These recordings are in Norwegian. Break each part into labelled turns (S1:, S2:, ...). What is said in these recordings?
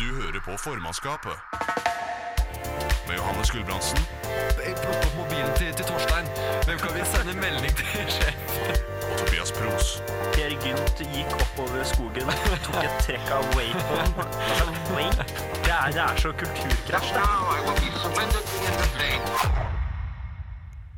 S1: Du hører på formannskapet. Med Johannes Gulbrandsen.
S2: Jeg plukker opp mobilen til, til Torstein. Hvem kan vi sende melding til? sjef?
S1: Og Tobias Pros.
S3: Per Gynt gikk oppover skogen, tok et trekk av Waypon. Det, er- det er så kulturkrasj. det.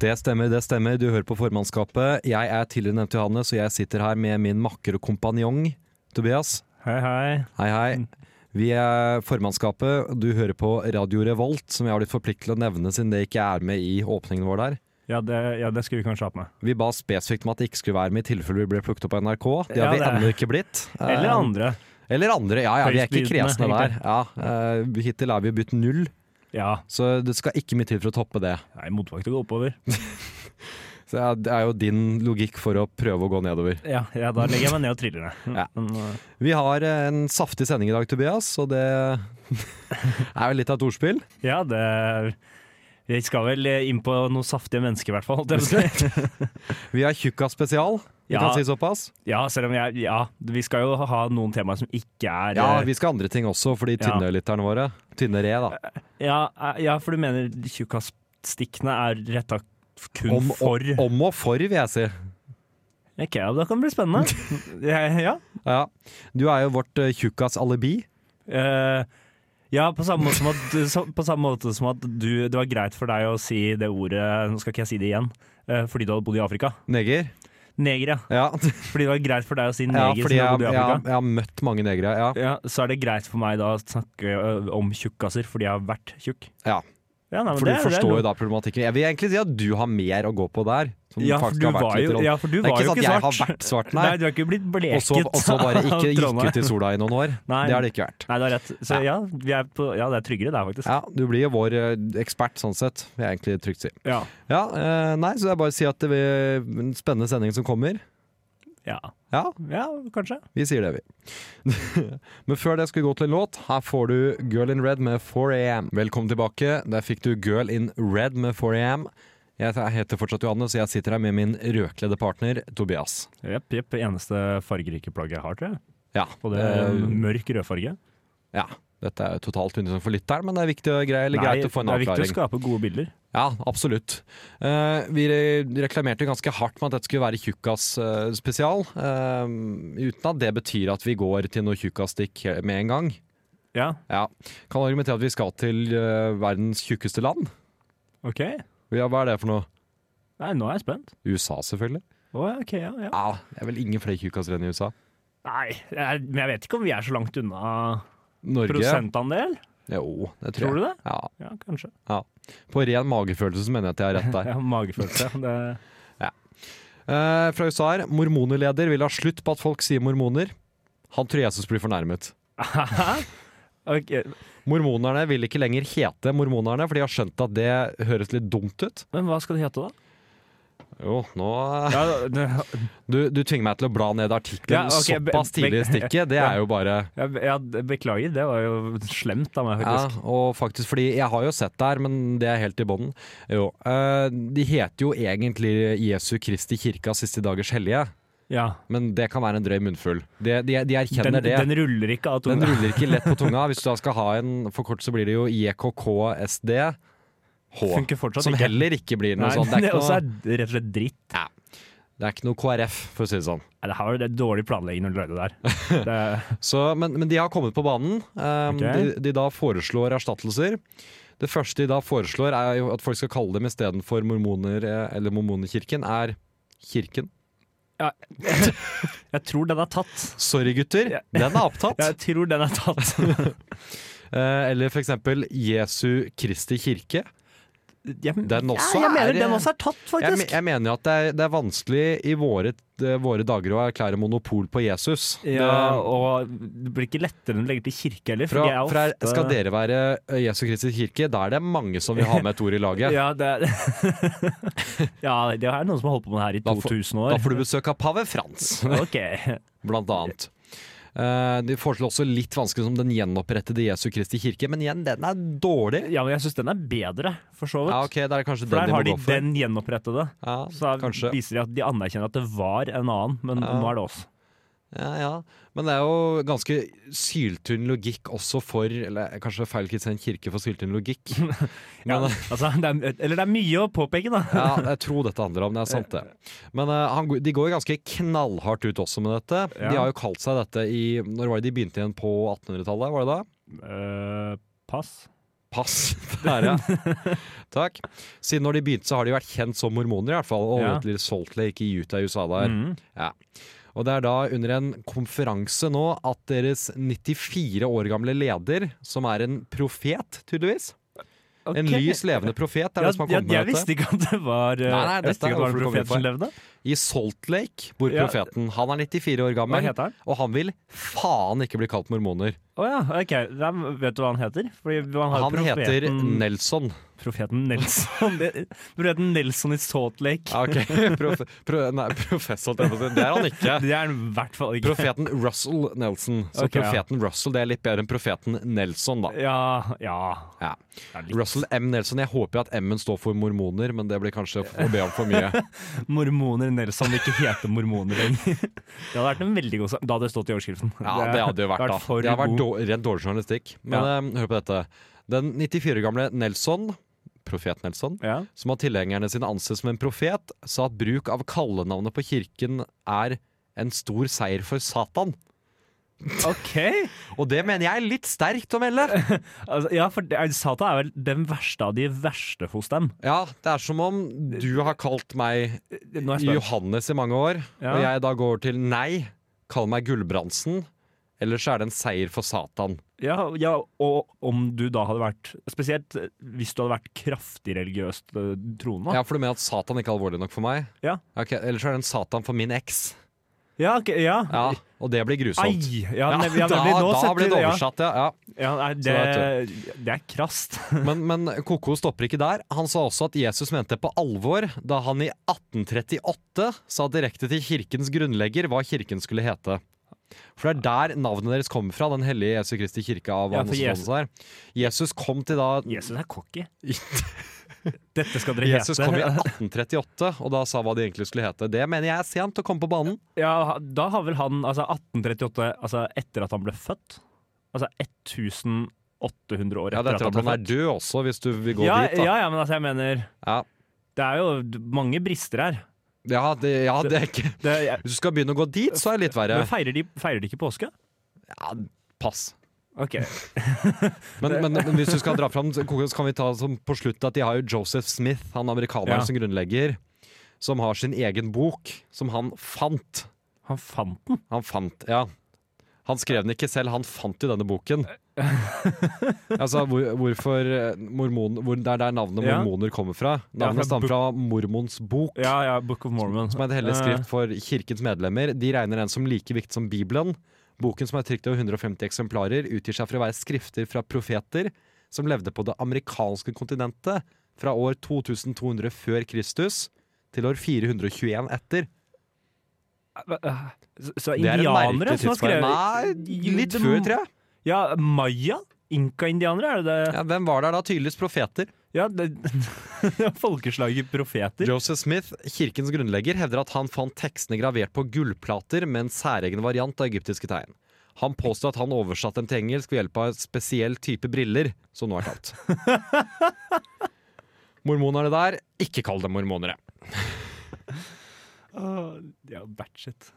S4: Det stemmer, det stemmer. Du hører på formannskapet. Jeg er tidligere nevnt Johannes, og jeg sitter her med min makker og kompanjong Tobias.
S5: Hei, hei.
S4: Hei,
S5: Mm.
S4: hei. Vi er formannskapet. Du hører på Radio Revolt, som jeg har blitt forpliktet til å nevne siden det ikke er med i åpningen vår der.
S5: Ja, det, ja, det skulle vi kanskje ha på med.
S4: Vi ba spesifikt om at det ikke skulle være med i tilfelle vi ble plukket opp av NRK. Det har
S5: Ja,
S4: vi
S5: det-
S4: ennå ikke blitt.
S5: Eller
S4: Eh,
S5: andre.
S4: Eller andre. Ja, ja, vi er ikke
S5: Høystbydende,
S4: kresne der. Ja, eh, hittil er vi budt null,
S5: Ja,
S4: så det skal ikke mye til for å toppe det.
S5: nei, motvakt å gå oppover.
S4: Så ja, Det er jo din logikk for å prøve å gå nedover.
S5: Ja, ja, da legger jeg meg ned og triller ned.
S4: Ja.
S5: Men, eh,
S4: Vi har eh, en saftig sending i dag, Tobias, og det er vel litt av et ordspill.
S5: ja, det er... Vi skal vel eh, inn på noen saftige mennesker i hvert fall. holdt jeg på å si.
S4: Vi har Tjukka spesial, vi
S5: Ja.
S4: kan si såpass.
S5: Ja, selv om jeg, ja, vi skal jo ha noen temaer som ikke er
S4: Ja,
S5: eh,
S4: vi skal ha andre ting også, for de tynne
S5: Ja.
S4: lytterne våre. Tynne re, da.
S5: ja, eh, ja, for du mener tjukkastikkene er retta kun
S4: Om,
S5: for
S4: om, om og for, vil jeg si.
S5: Ok, ja, det kan bli spennende. ja. ja.
S4: Ja. Du er jo vårt eh, tjukkas-alibi.
S5: Eh, ja, på samme måte som at, så, på samme måte som at du, det var greit for deg å si det ordet Nå skal ikke jeg si det igjen, eh, fordi du hadde bodd i Afrika.
S4: Neger.
S5: Neger, ja.
S4: Ja,
S5: Fordi det var greit for deg å si
S4: ja
S5: neger
S4: fordi
S5: som har
S4: jeg,
S5: bodd i
S4: jeg,
S5: Afrika.
S4: jeg har møtt mange negere. Ja.
S5: Ja. så er det greit for meg da å snakke ø, om tjukkaser, fordi jeg har vært tjukk.
S4: Ja.
S5: Ja, nei, men
S4: For du
S5: det, er- det er
S4: forstår
S5: lov.
S4: jo da problematikken. Jeg vil egentlig si at du har mer å gå på der. Som
S5: ja, for
S4: faktisk
S5: du
S4: har vært
S5: var
S4: litt
S5: jo,
S4: rått.
S5: ja, for du
S4: Det er
S5: var
S4: ikke
S5: jo
S4: sånn at
S5: ikke
S4: jeg
S5: svart.
S4: har vært svart,
S5: nei.
S4: nei.
S5: du har ikke blitt
S4: Og
S5: bleket
S4: så- og så bare ikke
S5: av Trondheim.
S4: gikk ut i sola i noen år.
S5: Nei.
S4: Det har det ikke vært.
S5: Nei, du har rett. Så ja, vi er på, ja det er tryggere der, faktisk.
S4: Ja, du blir jo vår eh, ekspert sånn sett, vil jeg egentlig trygt si.
S5: Ja.
S4: Ja, eh, nei, så det er bare å si at det blir en spennende sending som kommer.
S5: Ja,
S4: Ja,
S5: ja kanskje.
S4: vi sier det, vi. Men før det skal vi gå til en låt. Her får du Girl in Red med 4AM. Velkommen tilbake. Der fikk du Girl in Red med 4AM. Jeg heter fortsatt Johannes, og jeg sitter her med min rødkledde partner Tobias.
S5: Jepp, jepp. Eneste fargerike plagget jeg har, tror jeg.
S4: Ja,
S5: Og det
S4: eh,
S5: er mørk rødfarge.
S4: ja. Dette er jo totalt unisont for lytteren, men det er viktig, og grei, eller greit å få en
S5: det er viktig å
S4: avklaring.
S5: skape gode bilder.
S4: Ja, absolutt. Eh, vi re- reklamerte jo ganske hardt med at dette skulle være Tjukkas eh, spesial. eh, uten at det betyr at vi går til noe Tjukkastikk he- med en gang.
S5: Ja,
S4: Ja. Kan argumentere at vi skal til eh, verdens tjukkeste land.
S5: ok.
S4: Ja, hva er det for noe?
S5: Nei, nå er jeg spent.
S4: USA, selvfølgelig.
S5: Å, ja, ok, ja, ja.
S4: Ja, Det er vel ingen flere tjukkaser enn i USA.
S5: Nei, jeg, men jeg vet ikke om vi er så langt unna
S4: Norge?
S5: prosentandel.
S4: Jo, det tror,
S5: Tror
S4: jeg.
S5: du det?
S4: Ja.
S5: Ja, kanskje.
S4: På ren magefølelse så mener jeg at jeg har rett der.
S5: Ja, magefølelse. Det,
S4: Eh, fra USA her. Mormonerleder vil ha slutt på at folk sier mormoner. Han tror Jesus blir fornærmet.
S5: Ok,
S4: Mormonerne vil ikke lenger hete mormonerne, for de har skjønt at det høres litt dumt ut.
S5: Men hva skal det hete, da?
S4: Jo, nå
S5: Ja, det,
S4: Du, du tvinger meg til å bla ned artikkelen
S5: Ja, ok, be-
S4: såpass tidlig i
S5: be-
S4: stikket. Det er jo bare
S5: ja, be- ja, beklager, det var jo slemt av meg,
S4: ja,
S5: faktisk.
S4: og faktisk, fordi jeg har jo sett der, men det er helt i bånden. Jo, eh, de heter jo egentlig Jesu Kristi kirka siste dagers hellige,
S5: Ja.
S4: men det kan være en drøy munnfull. De, de, de
S5: Den,
S4: erkjenner det.
S5: den ruller ikke av
S4: Den
S5: tunga.
S4: ruller ikke lett på tunga. Hvis du da skal ha en forkortelse, blir det jo JKKSD. H.
S5: Funker fortsatt
S4: Som
S5: ikke.
S4: heller ikke blir noe
S5: Nei,
S4: sånt.
S5: det,
S4: Det er,
S5: også
S4: ikke
S5: er
S4: noe,
S5: rett og slett dritt.
S4: det er ikke noe KrF, for å si det sånn.
S5: Nei, det her var det dårlig planlegging når du lagde det der. Det,
S4: Så, men, men de har kommet på banen. Um,
S5: Ok.
S4: de, de da foreslår erstattelser. Det første de da foreslår, er jo at folk skal kalle dem istedenfor mormoner eh, eller mormonerkirken, er Kirken.
S5: jeg tror den er tatt.
S4: Sorry, gutter,
S5: Ja.
S4: den er opptatt.
S5: Jeg tror den er tatt.
S4: Eh, eller for eksempel Jesu Kristi kirke.
S5: Jeg,
S4: Den også
S5: ja, jeg mener
S4: er- eh,
S5: den også er tatt,
S4: Jeg,
S5: faktisk.
S4: me- jeg mener jo at det er, det er vanskelig i våre, eh, våre dager å erklære monopol på Jesus.
S5: ja,
S4: Det-
S5: og det blir ikke lettere enn å legge til kirke heller.
S4: fra,
S5: for jeg er
S4: fra,
S5: ofte-
S4: skal dere være eh, Jesu Kristi kirke? Da er det mange som vil ha med et ord i laget.
S5: ja, det er, ja, det er noen som har holdt på med det her i
S4: Da får-
S5: 2000
S4: Da
S5: år.
S4: får du besøk av pave Frans,
S5: Ok,
S4: blant annet. Eh, de foreslår også litt vanskelig som den gjenopprettede Jesu Kristi kirke, men igjen, den er dårlig.
S5: ja, men jeg syns den er bedre, for så vidt.
S4: Ja, ok, det er kanskje
S5: For
S4: den
S5: der
S4: de må
S5: har de
S4: gå for.
S5: den gjenopprettede.
S4: Ja,
S5: Så da
S4: kanskje.
S5: viser de at de anerkjenner at det var en annen, men
S4: Ja.
S5: nå er det oss.
S4: Ja, ja. Men det er jo ganske syltynn logikk også for Eller kanskje feil kritikk en kirke for syltynn logikk.
S5: Ja,
S4: Men,
S5: altså, det er, eller det er mye å påpeke, da.
S4: ja, jeg tror dette handler om det. er sant det Men eh, han, de går ganske knallhardt ut også med dette.
S5: Ja.
S4: De har jo kalt seg dette i Når var det de begynte igjen på 1800-tallet? Var det da?
S5: Eh, pass.
S4: Pass! Der, ja. Takk. Siden når de begynte, så har de vært kjent som mormoner, i hvert fall. Og
S5: Ja.
S4: holdt til Salt Lake i Utah i USA der.
S5: Mhm.
S4: Ja. Og det er da under en konferanse nå at deres 94 år gamle leder, som er en profet, tydeligvis En
S5: Ok.
S4: lys levende profet, er
S5: Ja,
S4: det som har
S5: ja,
S4: kommet med
S5: jeg
S4: dette.
S5: visste ikke at det var eh,
S4: Nei, nei,
S5: Jeg visste
S4: dette er
S5: ikke at det var en
S4: hvorfor det
S5: profet
S4: kommer
S5: som levde.
S4: I Salt Lake bor
S5: Ja.
S4: profeten. Han er 94 år
S5: Hva
S4: gammel,
S5: heter han?
S4: og han vil faen ikke bli kalt mormoner.
S5: Å ja, ok. Da vet du hva han heter? Fordi han har jo Mm.
S4: Han heter
S5: profeten-
S4: Nelson.
S5: Profeten Nelson. Det- Profeten Nelson i Salt Lake.
S4: Ja, ok. Prof, pro, nei, professor, holdt jeg på å si. det er han ikke.
S5: Det er han i hvert fall ikke.
S4: Profeten Russell Nelson. Så
S5: Ok, ja.
S4: profeten Russell det er litt bedre enn profeten Nelson, da.
S5: Ja, ja.
S4: Ja.
S5: Det er litt-
S4: Russell M. Nelson. Jeg håper jo at M-en står for mormoner, men det blir kanskje å be om for mye.
S5: Mormoner Nelson vil ikke hete mormoner lenger. Det hadde vært en veldig god sak. Da hadde det stått i overskriften.
S4: Ja, Det hadde jo vært, da.
S5: for
S4: Det hadde vært
S5: god.
S4: dår- rent dårlig journalistikk. Men
S5: Ja.
S4: eh, hør på dette. Den 94 år gamle Nelson, profet Nelson,
S5: Ja.
S4: som av tilhengerne sine anses som en profet, sa at bruk av kallenavnet på kirken er en stor seier for Satan.
S5: OK!
S4: Og det mener jeg er litt sterkt å melde!
S5: Altså, ja, for det- Satan er vel den verste av de verste hos dem.
S4: Ja, det er som om du har kalt meg
S5: Nå er jeg spent.
S4: Johannes i mange år,
S5: Ja.
S4: og jeg da går til nei, kall meg Gulbrandsen, eller så er det en seier for Satan.
S5: Ja, ja, og om du da hadde vært Spesielt eh, hvis du hadde vært kraftig religiøst eh, troende. da.
S4: Ja, for du mener at Satan ikke er alvorlig nok for meg?
S5: Ja.
S4: Ok, Eller så er det en Satan for min eks.
S5: Ja, ok, ja.
S4: Ja, og det blir
S5: Ai!
S4: grusomt.
S5: Ja,
S4: Ja,
S5: nev- ja,
S4: da,
S5: nemlig, nå
S4: da
S5: setter
S4: blir
S5: du-
S4: det
S5: ja.
S4: oversatt, ja. ja.
S5: Ja, nei, det,
S4: vet
S5: det er krast.
S4: Men, men Koko stopper ikke der. Han sa også at Jesus mente på alvor da han i 1838 sa direkte til kirkens grunnlegger hva kirken skulle hete. For det er der navnet deres kommer fra, Den hellige Jesu Kristi kirke. av
S5: Ja,
S4: ja,
S5: for
S4: Jesus. Der. Jesus kom til da
S5: Jesus er cocky. Dette skal dere
S4: Jesus kom i
S5: hete.
S4: 1838, og da sa hva de egentlig skulle hete. Det mener jeg er sent å komme på banen.
S5: Ja, da har vel han altså 1838, altså etter at han ble født Altså 1800 år etter,
S4: Ja, det er etter at han
S5: ble
S4: er
S5: født.
S4: død også, hvis du vil gå
S5: ja,
S4: dit. da.
S5: ja, ja, men altså, jeg mener
S4: Ja,
S5: Det er jo mange brister her.
S4: ja, det, ja det er ikke
S5: Det, jeg,
S4: Hvis du skal begynne å gå dit, så er det litt verre.
S5: men feirer de, feirer de ikke påske?
S4: Ja, pass.
S5: Ok.
S4: Men, men, men hvis du skal dra fram, så kan vi ta som på slutt at de har jo Joseph Smith, han amerikaneren
S5: Ja.
S4: som grunnlegger, som har sin egen bok, som han fant.
S5: Han fant den.
S4: Han fant, ja. Han skrev den ikke selv, han fant jo denne boken. Altså, hvor, hvorfor eh, mormon, hvor, Det er der navnet
S5: Ja.
S4: mormoner kommer fra.
S5: Ja, fra
S4: Navnet stammer fra Mormons bok,
S5: Ja, ja, Book of Mormon. Eh,
S4: som er et hellig skrift for kirkens medlemmer. De regner den som like viktig som Bibelen. Boken som er trykt over 150 eksemplarer, utgir seg for å være skrifter fra profeter som levde på det amerikanske kontinentet fra år 2200 før Kristus til år 421 etter.
S5: Eh, så- Så
S4: Det er en
S5: indianere
S4: merkelig
S5: som har
S4: tidsperiode.
S5: skrevet
S4: Nei, litt før, tror jeg.
S5: Ja, maya? Inka-indianere, er det det?
S4: Ja, hvem var der da? Tydeligvis profeter.
S5: Ja, det, folkeslaget profeter.
S4: Joseph Smith, kirkens grunnlegger, hevder at han fant tekstene gravert på gullplater med en særegen variant av egyptiske tegn. Han påstår at han oversatte dem til engelsk ved hjelp av en spesiell type briller, som nå er kalt. Mormonerne der, ikke kall dem mormonere.
S5: Åh, Ah, Ja, batshit.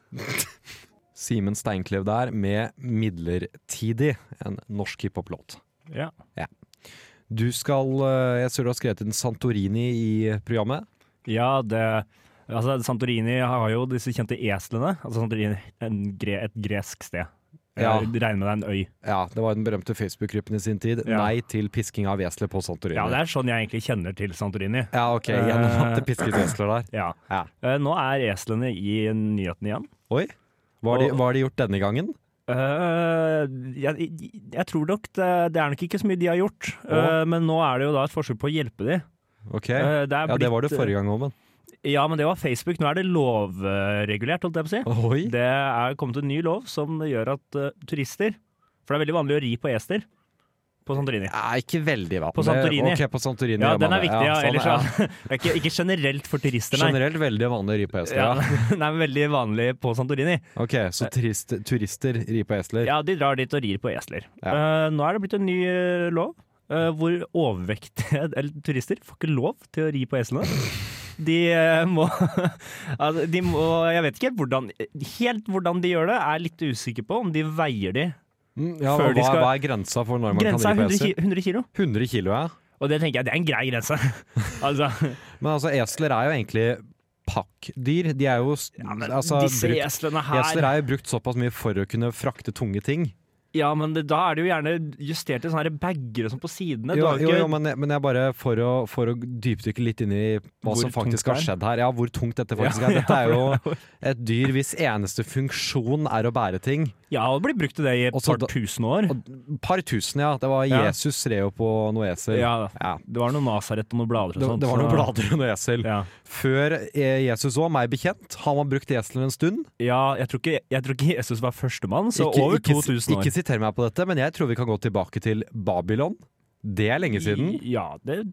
S4: Simen Steinklev der med 'Midlertidig', en norsk hiphop-låt.
S5: Ja.
S4: Du skal eh, Jeg ser du har skrevet inn Santorini i programmet.
S5: Ja, det Altså, Santorini har jo disse kjente eslene. Altså Santorini en gre, et gresk sted.
S4: Ja.
S5: Jeg regner med det er en øy.
S4: Ja, Det var den berømte Facebook-gruppen i sin tid.
S5: Ja.
S4: Nei til pisking av esler på Santorini.
S5: Ja, det er sånn jeg egentlig kjenner til Santorini.
S4: Ja, ok, gjennom at det pisket esler der.
S5: Eh, Ja.
S4: Ja.
S5: Eh, Nå er eslene i nyhetene igjen.
S4: Oi, hva har, de,
S5: Og-
S4: hva har de gjort denne gangen?
S5: Eh, jeg, jeg tror nok det, det er nok ikke så mye de har gjort,
S4: Å.
S5: eh, men nå er det jo da et forsøk på å hjelpe de.
S4: Ok,
S5: Eh, det er
S4: ja det var det
S5: blitt-
S4: forrige gang også, men
S5: Ja, men det var Facebook. Nå er det lovregulert, holdt jeg på å si.
S4: Oi,
S5: Det er kommet en ny lov som gjør at eh, turister For det er veldig vanlig å ri på ester på Santorini.
S4: Nei, ikke veldig vanlig.
S5: På Santorini.
S4: Ok, på Santorini
S5: Ja,
S4: gjør man
S5: den er
S4: det.
S5: viktig, ja.
S4: sånn,
S5: Ellers, ja. Det er ikke, ikke generelt for turister, nei.
S4: Generelt veldig vanlig ri på esler.
S5: Ja,
S4: Ja.
S5: den er veldig vanlig på sånn Santorini.
S4: Ok, så turist, turister ri på esler.
S5: Ja, de drar dit og rir på esler. Eh, nå er det blitt en ny eh, lov eh, hvor overvektige eller, turister får ikke lov til å ri på eslene. De eh, må altså, De må Jeg vet ikke helt hvordan, helt hvordan de gjør det. Jeg er litt usikker på om de veier de.
S4: Mm, ja
S5: Før
S4: hva,
S5: de skal-
S4: hva er grensa for når man
S5: Grensa
S4: kan
S5: er
S4: ri på
S5: 100,
S4: esel?
S5: ki 100 kilo.
S4: 100 kilo, ja.
S5: Og det tenker jeg det er en grei grense. altså,
S4: Men altså, esler er jo egentlig pakkdyr. De er jo s-
S5: ja, men
S4: altså,
S5: disse
S4: brukt,
S5: eslene her
S4: Esler er jo brukt såpass mye for å kunne frakte tunge ting.
S5: Ja, men det, da er det jo gjerne justert i sånne her bager og sånn på sidene. Du
S4: Jo,
S5: har
S4: jo,
S5: ikke-
S4: jo men, jeg- men jeg bare for å, for å dypdykke litt inn i hva
S5: Hvor
S4: som faktisk
S5: tungt
S4: har
S5: det
S4: skjedd her. Ja, hvor tungt dette faktisk
S5: Ja,
S4: er. Dette er
S5: ja,
S4: jo et dyr hvis eneste funksjon er å bære ting.
S5: Ja, det blir brukt til det i et
S4: Og så
S5: par
S4: da-
S5: tusen år.
S4: Par tusen, ja. Det var
S5: Ja.
S4: Jesus red jo på noe esel.
S5: Ja,
S4: Ja.
S5: Det var noe Nasaret og noen blader
S4: Det,
S5: og sånt.
S4: det var noen
S5: så-
S4: blader og noe esel.
S5: Ja.
S4: Før eh, Jesus òg, meg bekjent, har man brukt esler en stund.
S5: ja jeg, tror ikke, jeg tror ikke Jesus var førstemann, så
S4: Ikke-
S5: over
S4: ikke-
S5: 2000 år.
S4: Ikke siter meg på dette, men jeg tror vi kan gå tilbake til Babylon. Det er lenge siden.
S5: Ja, det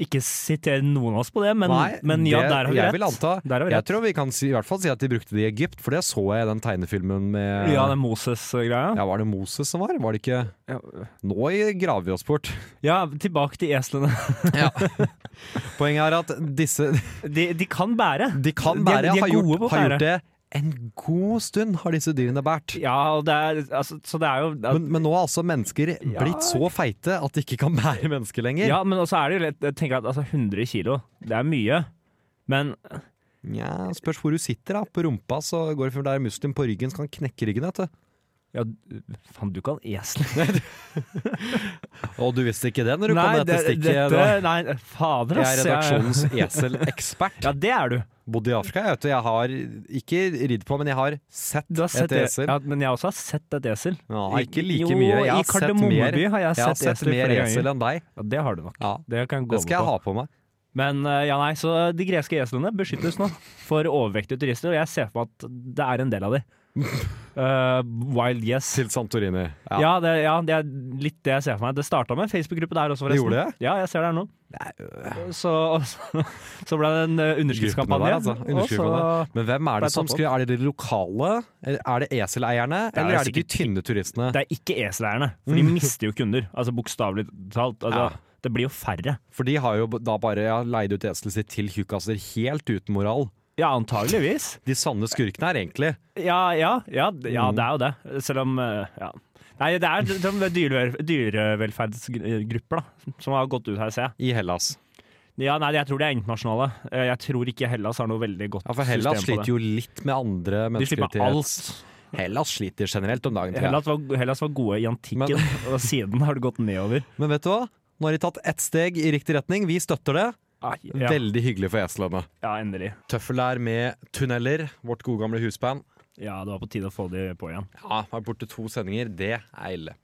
S5: Ikke siter noen av oss på det, men,
S4: Nei,
S5: men ja,
S4: det-
S5: der har vi
S4: jeg
S5: rett.
S4: Vil anta,
S5: Der har vi
S4: jeg
S5: rett.
S4: tror vi kan si, i hvert fall si at de brukte det i Egypt, for det så jeg i den tegnefilmen med
S5: Ja, den Moses-greia.
S4: Ja, var det Moses som var? Var det ikke
S5: Ja.
S4: Nå graver vi oss bort.
S5: ja, tilbake til eslene.
S4: Poenget er at disse
S5: De, de kan bære.
S4: De kan
S5: De
S4: bære,
S5: er- de er
S4: har,
S5: gode på å
S4: gjort, har
S5: bære.
S4: gjort det en god stund, har disse dyrene båret.
S5: Ja, og det er, altså, så det er jo
S4: Men, men nå er altså mennesker
S5: Ja.
S4: blitt så feite at de ikke kan bære mennesker lenger.
S5: Ja, men også er det jo litt Jeg tenker at altså, 100 kilo, det er mye. Men
S4: Nja, spørs hvor du sitter, da. På rumpa så går det for det er muslim på ryggen, så kan knekke ryggen, vet du.
S5: ja, faen, du kan esel.
S4: Og du visste ikke det når du kom med dette stikket? du
S5: dette,
S4: var-
S5: nei, fader,
S4: Jeg er
S5: ass.
S4: redaksjonens eselekspert.
S5: Ja, det er du.
S4: Bodde i Afrika, jeg vet du. Jeg har ikke ridd på, men jeg har sett
S5: Du har sett
S4: et esel.
S5: Ja, men jeg også har sett et esel.
S4: Ja, ikke like
S5: jo,
S4: mye. Jeg har
S5: i
S4: sett
S5: Kardemommeby
S4: mer.
S5: har jeg
S4: Jeg har
S5: sett,
S4: sett
S5: esel
S4: mer
S5: flere
S4: esel
S5: ganger.
S4: enn deg.
S5: Ja, det har du nok.
S4: Ja,
S5: Det kan jeg gå
S4: det skal jeg
S5: med på.
S4: ha på meg.
S5: Men eh, ja, nei, så de greske eslene beskyttes nå for overvektige turister, og jeg ser for meg at det er en del av de. Eh, wild yes.
S4: Til Santorini.
S5: Ja.
S4: Ja.
S5: det, ja, det er litt det jeg ser for meg. Det starta med en Facebook-gruppe der også, forresten.
S4: gjorde det? øh.
S5: Ja, jeg ser det her nå. Så, og så, så ble det en eh,
S4: Gruppene
S5: underskriftskampanje.
S4: der, altså.
S5: og så-
S4: Underskriftskampanje. Men hvem er
S5: Ble
S4: det som
S5: tatt opp.
S4: skulle Er det de lokale? Er det eseleierne?
S5: er
S4: Eller er det de
S5: sikkert-
S4: tynne turistene?
S5: Det er ikke eseleierne, for de mister jo kunder. Altså bokstavelig talt. Altså,
S4: Mm. Ja.
S5: Det blir jo færre.
S4: For de har jo da bare ja, leid ut eselet sitt til tjukkaser, helt uten moral.
S5: Ja, antageligvis.
S4: De sanne skurkene er egentlig
S5: Ja, ja, ja,
S4: Mm.
S5: d- ja det er jo det. Selv om eh, ja. Nei, det er de dyrevel- dyrevelferdsgrupper da, som har gått ut her, ser jeg.
S4: i Hellas.
S5: Ja, nei, jeg tror de er internasjonale. Eh, Jeg tror ikke Hellas har noe veldig godt
S4: Ja, For Hellas
S5: system på
S4: sliter
S5: det.
S4: jo litt med andre
S5: De slipper alt.
S4: menneskerettigheter. Hellas sliter generelt om dagen. tror jeg.
S5: Hellas var, Hellas var gode i antikken, og siden har det gått nedover.
S4: Men vet du hva? Nå har de tatt ett steg i riktig retning. Vi støtter det.
S5: Ja,
S4: Veldig hyggelig for eslene.
S5: ja, endelig.
S4: Tøffelær med Tunneler, vårt gode gamle husband.
S5: Ja, det var på tide å få de på igjen.
S4: Ja, vært borte to sendinger. Det er ille.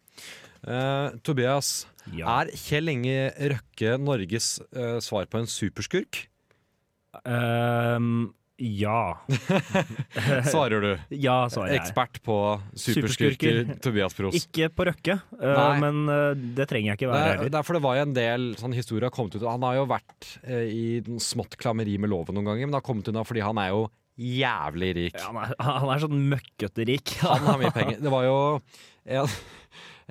S4: Eh, Tobias,
S5: Ja.
S4: er Kjell Inge Røkke Norges eh, svar på en superskurk?
S5: Ehm, ja.
S4: Svarer du.
S5: Ja, svarer jeg.
S4: Ekspert på superskurker,
S5: Superskurker.
S4: Tobias Prost.
S5: Ikke på Røkke, eh,
S4: Nei.
S5: men eh, det trenger jeg ikke
S4: Det
S5: være
S4: er,
S5: heller.
S4: det er for det var jo en del sånn historier har kommet ut Han har jo vært eh, i den smått klammeri med loven noen ganger, men har kommet unna fordi han er jo jævlig rik.
S5: Ja, han, er, han er sånn møkkete rik.
S4: Han har mye penger. Det var jo en,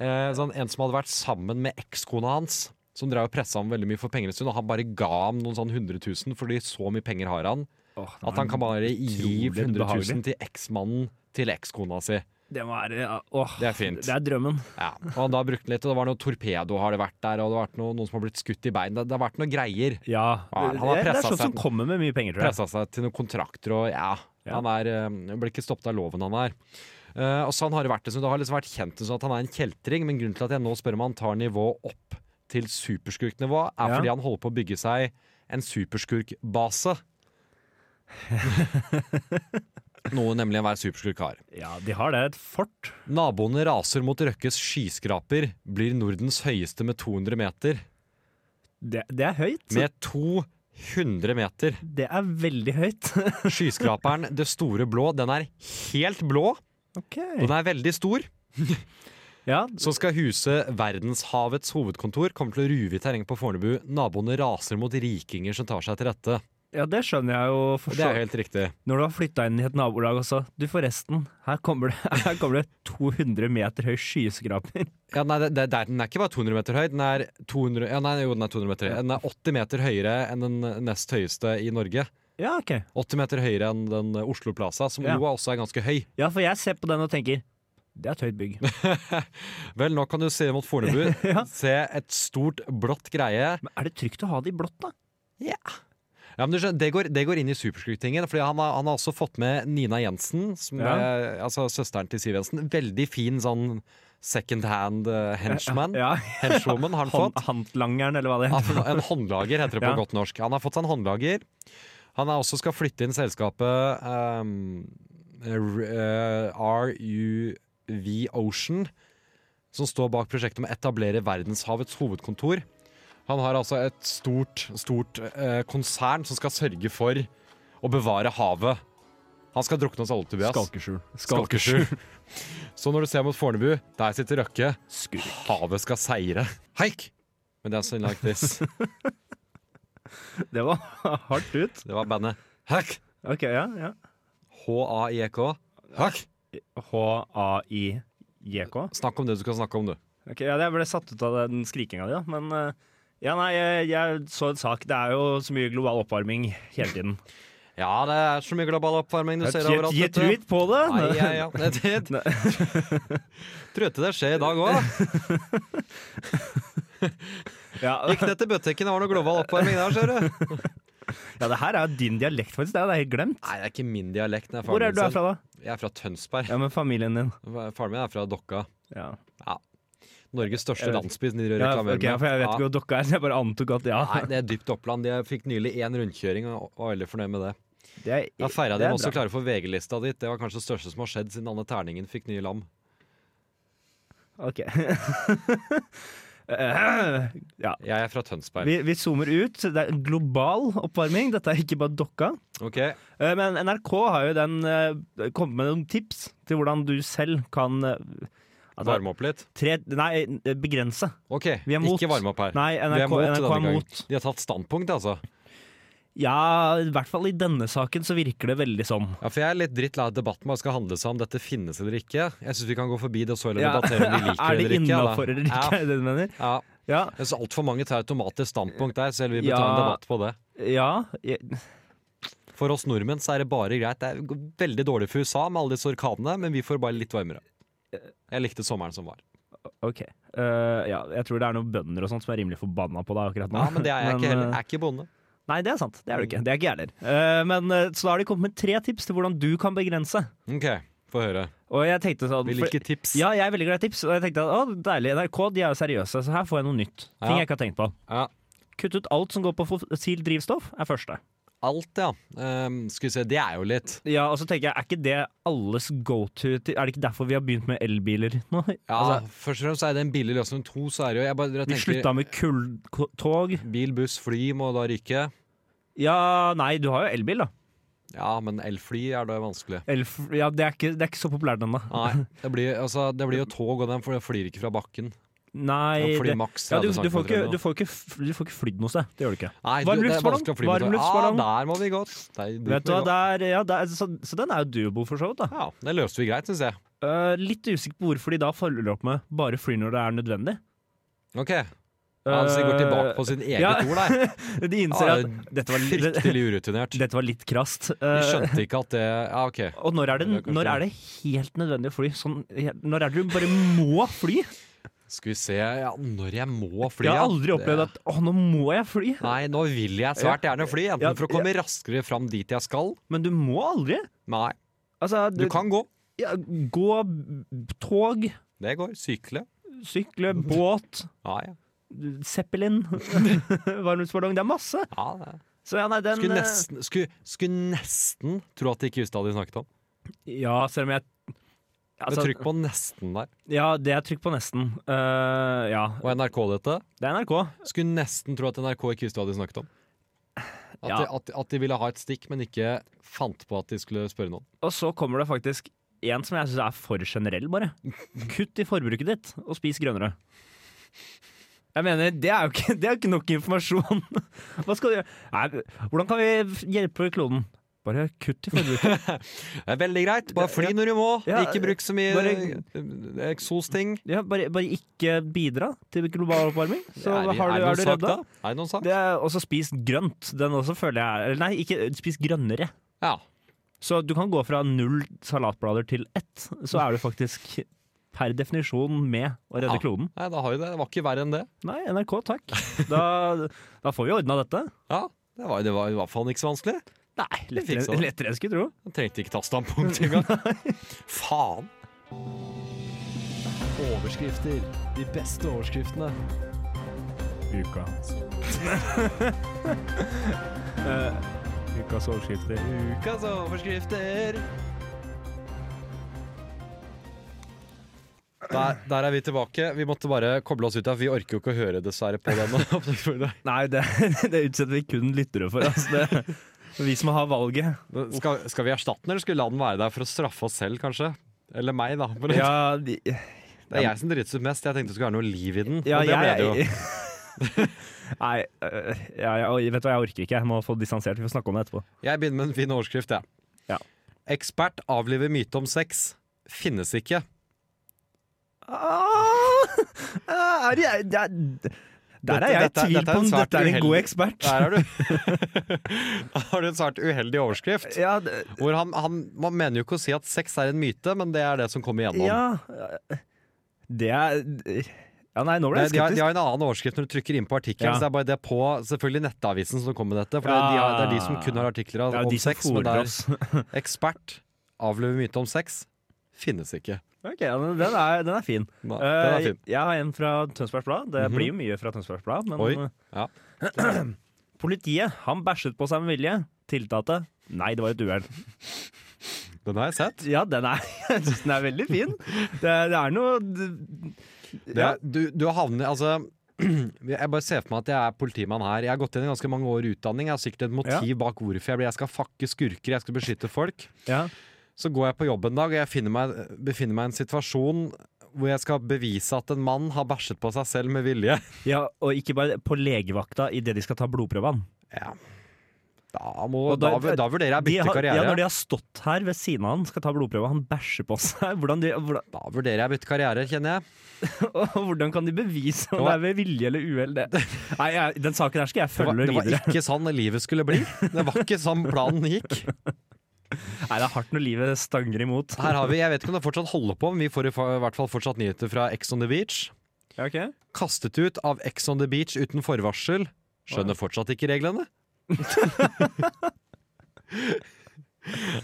S4: eh, sånn, en som hadde vært sammen med ekskona hans, som drev og pressa ham veldig mye for penger en stund, og han bare ga ham noen sånn 100 000, fordi så mye penger har han,
S5: Åh, det
S4: at han kan bare gi
S5: utrolig
S4: 100 000
S5: ubehagelig.
S4: til eksmannen til ekskona si.
S5: Det må være ja, åh,
S4: Det er fint.
S5: Det er drømmen.
S4: Ja. Og han da brukte den litt, og det var noe torpedo har det vært der, og det har vært noe, noen som har blitt skutt i bein. Det, det har vært noen greier.
S5: Ja,
S4: Ja, han
S5: det,
S4: har
S5: det er
S4: presset
S5: sånn
S4: seg.
S5: som kommer med mye penger, tror jeg.
S4: Pressa seg til noen kontrakter og ja,
S5: Ja.
S4: han er, eh, blir ikke stoppet av loven han er. Eh, og sånn har det vært. liksom. Det har liksom vært kjent som at han er en kjeltring, men grunnen til at jeg nå spør om han tar nivå opp til superskurknivå, er
S5: Ja.
S4: fordi han holder på å bygge seg en superskurkbase. Noe nemlig enhver superskurk har.
S5: Ja, de har det. Et fort.
S4: Naboene raser mot Røkkes skyskraper, blir Nordens høyeste med 200 meter.
S5: Det, det er høyt.
S4: Med 200 meter!
S5: Det er veldig høyt.
S4: Skyskraperen Det store blå, den er helt blå.
S5: ok.
S4: Den er veldig stor.
S5: Ja,
S4: som skal huse verdenshavets hovedkontor, kommer til å ruve i terrenget på Fornebu. Naboene raser mot rikinger som tar seg til rette.
S5: ja, det skjønner jeg jo. For
S4: Og det
S5: så-
S4: er jo helt riktig.
S5: Når du har flytta inn i et nabolag også. Du, forresten, her kommer det, her kommer det 200 meter høy skyskraper.
S4: Ja, nei, det, det, det er- den er ikke bare 200 meter høy. Den er, 200, ja, nei, jo, den er 200 meter høy. Den er 80 meter høyere enn den nest høyeste i Norge.
S5: Ja, ok.
S4: 80 meter høyere enn den Oslo Plaza, som
S5: Ja.
S4: jo også er ganske høy.
S5: Ja, for jeg ser på den og tenker det er et høyt bygg.
S4: Vel, nå kan du se mot Fornebu.
S5: Ja.
S4: Se et stort, blått greie.
S5: Men er det trygt å ha det i blått, da?
S4: Ja, men du skjønner, det, går, det går inn i superskruktingen, Fordi han har, han har også fått med Nina Jensen, som
S5: Ja.
S4: er, altså søsteren til Siv Jensen. Veldig fin sånn second hand eh, henchman.
S5: Ja,
S4: Henchwoman har han fått.
S5: Hånd- Håndlangeren, eller hva det
S4: Ja,
S5: heter.
S4: for En håndlager heter det på
S5: Ja.
S4: godt norsk. Han har fått seg en håndlager. Han er også skal flytte inn selskapet ehm, R- eh, RUV Ocean, som står bak prosjektet om å etablere verdenshavets hovedkontor. Han har altså et stort, stort eh, konsern som skal sørge for å bevare havet. Han skal drukne oss alle, Tobias.
S5: Skalkeskjul.
S4: Skalkeskjul. Så når du ser mot Fornebu, der sitter Røkke.
S5: Skurk.
S4: Havet skal seire. Haik! Men det er sånn like this.
S5: Det var hardt ut.
S4: Det var bandet E Hack.
S5: Ok, ja. ja.
S4: H-a-i-k. Hack.
S5: H-a-i-j-k.
S4: Snakk om det du skal snakke om, du.
S5: Ok, ja, Jeg ble satt ut av den skrikinga di, da. Men eh, ja, nei, jeg, jeg så en sak. Det er jo så mye global oppvarming hele tiden.
S4: Ja, det er så mye global oppvarming du
S5: Jeg
S4: ser overalt.
S5: Get
S4: vet du.
S5: ut på det!
S4: Nei, ja, ja. Det, det,
S5: Nei.
S4: tror ikke det skjer i dag òg.
S5: Ja.
S4: Gikk ned til butikken, det var noe global oppvarming der, ser du.
S5: ja, det her er jo din dialekt, faktisk. Det er jo det helt glemt.
S4: Nei, det er ikke min dialekt. Det er
S5: Hvor
S4: faren
S5: er
S4: min
S5: du er
S4: selv.
S5: fra, da?
S4: Jeg er fra Tønsberg.
S5: Ja, men familien din.
S4: Faren min er fra Dokka.
S5: Ja,
S4: Norges største
S5: Jeg vet-
S4: landsby. som de
S5: ja
S4: reklamerer
S5: ok,
S4: med.
S5: for jeg vet
S4: Ja.
S5: ikke hvor dokka er, så jeg bare antok at ja.
S4: Nei, det er dypt Oppland. Jeg fikk nylig én rundkjøring og var veldig fornøyd med det.
S5: Det er,
S4: Jeg feira
S5: det
S4: de
S5: er
S4: også
S5: bra.
S4: klare for VG-lista ditt. Det var kanskje det største som har skjedd siden Anne Terningen fikk nye lam.
S5: Ok. Eh, ja.
S4: Jeg er fra Tønsberg.
S5: Vi, vi zoomer ut. Det er global oppvarming. Dette er ikke bare dokka.
S4: Ok,
S5: Eh, Men NRK har jo den eh, kommet med noen tips til hvordan du selv kan eh, at det er
S4: Varme opp litt.
S5: tre, Nei, eh, begrense.
S4: Ok,
S5: Vi er mot.
S4: Ikke varme opp her.
S5: Nei,
S4: Vi
S5: NRK,
S4: mot
S5: NRK
S4: denne
S5: er
S4: gangen.
S5: mot.
S4: De har tatt standpunkt, altså.
S5: Ja, i hvert fall i denne saken så virker det veldig sånn.
S4: Ja, For jeg er litt dritt lei av at debatten bare skal handle seg om dette finnes eller ikke. Jeg syns vi kan gå forbi det og så heller
S5: Ja.
S4: debattere om vi liker
S5: Er det
S4: eller ikke.
S5: innafor eller ikke,
S4: Ja.
S5: er det det du mener?
S4: Ja.
S5: Ja.
S4: Jeg synes Altfor mange tar automatisk standpunkt der, selv vi bør ta en
S5: Ja.
S4: debatt på det.
S5: ja. jeg-
S4: For oss nordmenn så er det bare greit. Det er veldig dårlig for USA med alle disse orkanene, men vi får bare litt varmere. Jeg likte sommeren som var.
S5: Ok. Eh, ja, jeg tror det er noen bønder og sånt som er rimelig forbanna på deg akkurat nå.
S4: Ja, Men det er jeg ikke heller.
S5: eh,
S4: Jeg er ikke bonde.
S5: Nei, det er sant. Det er du ikke. Det er ikke jeg heller. Eh, men, eh, så da har de kommet med tre tips til hvordan du kan begrense.
S4: Ok, få høre.
S5: Og jeg tenkte sånn
S4: Vi
S5: for-
S4: liker tips.
S5: Ja, jeg er veldig glad i tips. Og jeg tenkte at, å, deilig, NRK de er jo seriøse, så her får jeg noe nytt. Ting
S4: Ja.
S5: jeg ikke har tenkt på.
S4: Ja.
S5: Kutt ut alt som går på fossilt drivstoff, er første.
S4: Alt, ja. Ehm, skal vi se, det er jo litt.
S5: Ja, og så tenker jeg, Er ikke det alles go to? til- Er det ikke derfor vi har begynt med elbiler nå?
S4: Ja, Ah,
S5: Altså,
S4: Først og fremst er det en billig løsning. To så er det jo jeg bare, jeg
S5: vi
S4: tenker,
S5: slutta med kulltog.
S4: Bil, buss, fly må da ryke.
S5: Ja, nei, du har jo elbil, da.
S4: Ja, men elfly er da vanskelig.
S5: Elf, ja, det er, ikke, det er ikke så populært ennå.
S4: Nei, det blir, altså, det blir jo tog, og den fly- flyr ikke fra bakken.
S5: Nei,
S4: Den flyr
S5: det,
S4: maks
S5: ja, du,
S4: 30
S5: du, får ikke,
S4: centimeter
S5: du, får ikke, f- du får ikke flydd noe sted. Det gjør du ikke.
S4: nå. Nei, du,
S5: Varm
S4: det er
S5: luftballong,
S4: vanskelig å fly
S5: varm
S4: med tog.
S5: luftballong.
S4: Ja, der må vi gått. Der, dit
S5: Vet du
S4: må
S5: hva,
S4: vi gå.
S5: der, ja, der, så, så den er jo doable, for så vidt. da
S4: Ja, det løste vi greit, syns jeg.
S5: Eh, litt usikker på hvorfor de da følger opp med bare fly når det er nødvendig.
S4: Ok, altså, de går tilbake på sin eget
S5: Eh, ja.
S4: ord der.
S5: Eh, De innser
S4: Ja,
S5: at dette var, li-
S4: Fryktelig urutinert.
S5: dette var litt krast. Eh,
S4: De skjønte ikke at det Ja, OK.
S5: og når er, det,
S4: Det er kanskje-
S5: når er det helt nødvendig å fly? Sånn, helt- når er det du bare må fly?
S4: Skal vi se ja, Når jeg må fly,
S5: Jeg har
S4: ja.
S5: aldri opplevd at 'å, nå må jeg fly',
S4: Nei, nå vil jeg svært gjerne fly,
S5: Ja,
S4: enten for å komme raskere fram dit jeg skal.
S5: men du må aldri.
S4: Nei,
S5: Altså,
S4: du
S5: du-
S4: kan gå.
S5: ja, gå, b- tog,
S4: Det går. Sykle.
S5: sykle, båt,
S4: Ja, ja.
S5: Zeppelin, varmluftsballong. Det er masse.
S4: ja det.
S5: Så ja, nei, den
S4: Skulle
S5: eh,
S4: nesten, skulle, skulle nesten tro at de ikke visste hva de snakket om.
S5: Ja, selv om jeg
S4: Men
S5: altså,
S4: trykk på 'nesten' der.
S5: Ja, det er trykk på nesten. Eh, ja,
S4: Og NRK dette.
S5: det er NRK.
S4: Skulle nesten tro at NRK ikke visste hva de snakket om. At,
S5: Ja.
S4: de, at, at de ville ha et stikk, men ikke fant på at de skulle spørre noen.
S5: Og så kommer det faktisk en som jeg syns er for generell, bare. Kutt i forbruket ditt, og spis grønnere. Jeg mener, Det er jo ikke, det er jo ikke nok informasjon! Hva skal du gjøre? Nei, hvordan kan vi hjelpe kloden? Bare kutt i forbruket.
S4: Det er veldig greit. Bare fly når du må.
S5: Ja,
S4: Ikke bruk så mye
S5: bare-
S4: eh, eksosting.
S5: Ja, bare, bare ikke bidra til global oppvarming, så
S4: Er vi-
S5: har
S4: er det
S5: du, er du
S4: noen sak,
S5: redd da?
S4: Er det noen sak?
S5: Det er også spis grønt. Den også føler jeg Eller nei, ikke spis grønnere.
S4: Ja.
S5: Så du kan gå fra null salatblader til ett, så er du faktisk per definisjon med å redde
S4: Ja.
S5: kloden.
S4: Nei, da har vi det. Det var ikke verre enn det.
S5: Nei, NRK, takk. Da, da får vi ordna dette.
S4: Ja, Det var, det var i hvert fall ikke så vanskelig.
S5: Nei,
S4: Vi fikser
S5: lettere,
S4: det.
S5: lettere enn jeg skulle tro.
S4: Jeg trengte ikke ta standpunkt engang. Faen!
S6: Overskrifter. De beste overskriftene.
S5: Uka. ukas overskrifter.
S6: Ukas overskrifter.
S4: Der, der er vi tilbake. Vi måtte bare koble oss ut av Vi orker jo ikke å høre dessverre på denne.
S5: Nei, det, det utsetter vi kun lyttere for. Altså det, vi som har valget.
S4: Skal, skal vi erstatte den, eller skulle vi la den være der for å straffe oss selv, kanskje? Eller meg, da. Men
S5: Ja, de,
S4: Det er jeg som drites ut mest. Jeg tenkte det skulle være noe liv i den.
S5: Ja,
S4: og det ble det jo.
S5: jeg, Nei, øh, ja, ja, oi, vet du hva, jeg orker ikke. Jeg må få distansert. Vi får snakke om det etterpå.
S4: Jeg begynner med en fin overskrift, jeg.
S5: Ja.
S4: Ekspert avliver myte om sex. Finnes ikke.
S5: Ah! er jeg, der,
S4: Dette-
S5: er jeg i
S4: dette-
S5: tvil
S4: dette er en
S5: på om
S4: svært
S5: dette er en god
S4: uheldig-
S5: ekspert.
S4: Der er du. Da har du en svært uheldig overskrift.
S5: Ja, det-
S4: Hvor han, han, man mener jo ikke å si at sex er en myte, men det er det som kommer igjennom.
S5: ja Det er Ja, nei, nå ble
S4: Nei,
S5: jeg
S4: Eh, de, har, de
S5: skeptisk.
S4: har en annen overskrift når du trykker inn på artikkelen.
S5: Ja.
S4: Så det er bare det på selvfølgelig nettavisen som kommer med dette. For det, er de har, det er de som kun har artikler av,
S5: Det er
S4: om
S5: de som
S4: sex. Men det
S5: fôrer
S4: er
S5: oss.
S4: ekspert avløver myte om sex. Finnes ikke.
S5: Ok, ja, men den er, den er fin.
S4: Nei, den er
S5: Eh,
S4: fin. Mhm.
S5: Jeg har en fra Tønsbergs Blad. Det blir jo mye fra Tønsbergs Blad, men
S4: Oi, ja.
S5: Politiet, han bæsjet på seg med vilje. Tiltalte, nei, det var et uhell.
S4: Den har jeg sett.
S5: Ja, den er, jeg synes den er veldig fin. Det, det er noe
S4: Det,
S5: Ja.
S4: du, du havner Altså jeg bare ser for meg at jeg er politimann her. Jeg har gått inn i ganske mange år i utdanning. Jeg har sikkert et motiv bak hvorfor jeg blir. Jeg skal fakke skurker, jeg skal beskytte folk.
S5: ja.
S4: Så går jeg på jobb en dag, og jeg finner meg, befinner meg i en situasjon hvor jeg skal bevise at en mann har bæsjet på seg selv med vilje.
S5: Og ikke bare på legevakta idet de skal ta blodprøvene.
S4: Ja. Da, må,
S5: Og
S4: da,
S5: da-
S4: da, vurderer jeg å
S5: De
S4: bytte
S5: har-
S4: karriere.
S5: Ja, når de har stått her ved siden av han, skal ta blodprøve, han bæsjer på seg. Hvordan, de, hvordan,
S4: Da vurderer jeg å bytte karriere, kjenner jeg.
S5: og hvordan kan de bevise om det er ved vilje eller uhell? det? Nei, jeg, den saken her skal jeg
S4: Det var,
S5: følge
S4: det var
S5: videre.
S4: ikke sånn livet skulle bli. Det var ikke sånn planen gikk.
S5: Nei, det er hardt når livet stanger imot.
S4: Her har vi, Jeg vet ikke om det fortsatt holder på, men vi får i fa- i hvert fall fortsatt nyheter fra Ex on the Beach.
S5: Ja, ok.
S4: Kastet ut av Ex on the Beach uten forvarsel. Skjønner fortsatt ikke reglene.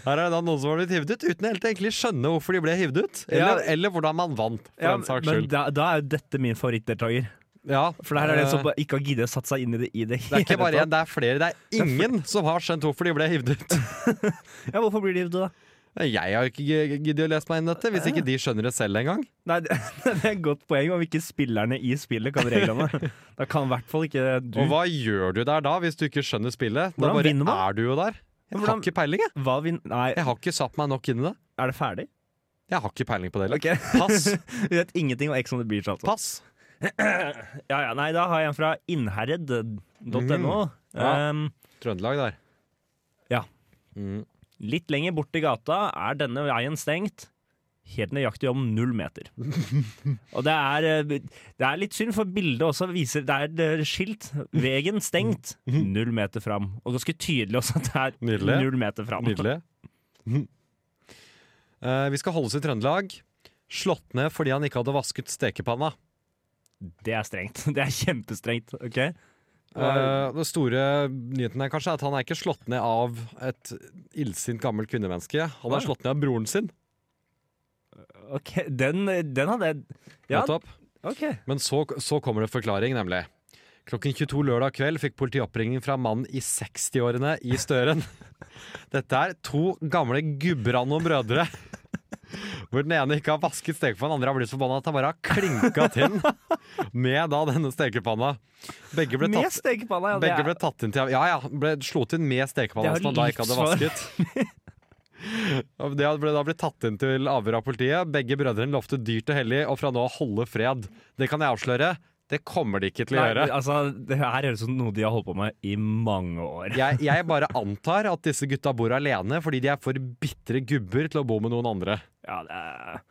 S4: Her er det da noen som har blitt hivd ut uten helt egentlig skjønne hvorfor de ble hivd ut. Eller,
S5: Ja.
S4: eller hvordan man vant, for
S5: Ja,
S4: den saks
S5: men
S4: skyld.
S5: da, da er jo dette min favorittdeltaker.
S4: Ja,
S5: For det her er det en som
S4: eh,
S5: bare ikke har giddet å satt seg inn i det i det
S4: det er ikke
S5: hele
S4: bare
S5: tatt.
S4: én, det er flere. Det er ingen som har skjønt hvorfor de ble hivd ut.
S5: Ja, hvorfor blir de det, da?
S4: Jeg har ikke g- giddet å lese meg inn i dette, hvis ikke de skjønner det selv engang.
S5: Nei, det, det er et godt poeng om ikke spillerne i spillet kan reglene. Da kan i hvert fall ikke du.
S4: Og hva gjør du der da, hvis du ikke skjønner spillet? Da
S5: Hvordan
S4: bare
S5: vinner man?
S4: er du jo der. Jeg
S5: hvordan-
S4: har ikke peiling, jeg.
S5: Hva vin... Nei,
S4: Jeg har ikke satt meg nok inn i det.
S5: er det ferdig?
S4: Jeg har ikke peiling på det. eller?
S5: Ok,
S4: Pass.
S5: Vi vet ingenting om Ex on the Beach, altså.
S4: Pass.
S5: Ja, ja, nei, da har jeg en fra innherred.no.
S4: Ja.
S5: Um,
S4: Trøndelag der.
S5: Ja.
S4: Mm.
S5: litt lenger bort i gata er denne veien stengt. Helt nøyaktig om null meter. Og det er, eh, det er litt synd, for bildet også viser Det er eh, skilt. Vegen stengt. Null meter fram. Og ganske tydelig også at det er
S4: Nydelig.
S5: null meter fram.
S4: Nydelig. Eh, vi skal holde oss i Trøndelag. Slått ned fordi han ikke hadde vasket stekepanna.
S5: Det er strengt. Det er kjempestrengt. ok?
S4: Eh, den store nyheten er kanskje at han er ikke slått ned av et illsint gammelt kvinnemenneske. Han er slått ned av broren sin.
S5: Ok, Den, den hadde jeg Ja,
S4: Nettopp.
S5: ok.
S4: Men så, så kommer det forklaring, nemlig. Klokken 22 lørdag kveld fikk politiet oppringning fra mannen i 60-årene i Støren. Dette er to gamle gubber av noen brødre. Hvor den ene ikke har vasket stekepanna, den andre har blitt så forbanna at han bare har klinka til med da denne stekepanna. Begge ble
S5: Med
S4: tatt,
S5: stekepanna, ja. det
S4: begge
S5: er-
S4: ble tatt inn til Ja ja, ble slått inn med
S5: Det
S4: stekepanna
S5: er
S4: som
S5: jo
S4: han da ikke hadde
S5: livsfarlig.
S4: vasket. Og Det ble da blitt tatt inn til avhør av politiet. Begge brødrene lovte dyrt og hellig å fra nå av holde fred. Det kan jeg avsløre. Det kommer de ikke til å
S5: Nei,
S4: gjøre.
S5: altså, det her høres ut som noe de har holdt på med i mange år.
S4: Jeg, jeg bare antar at disse gutta bor alene fordi de er for bitre gubber til å bo med noen andre.
S5: Ja, det er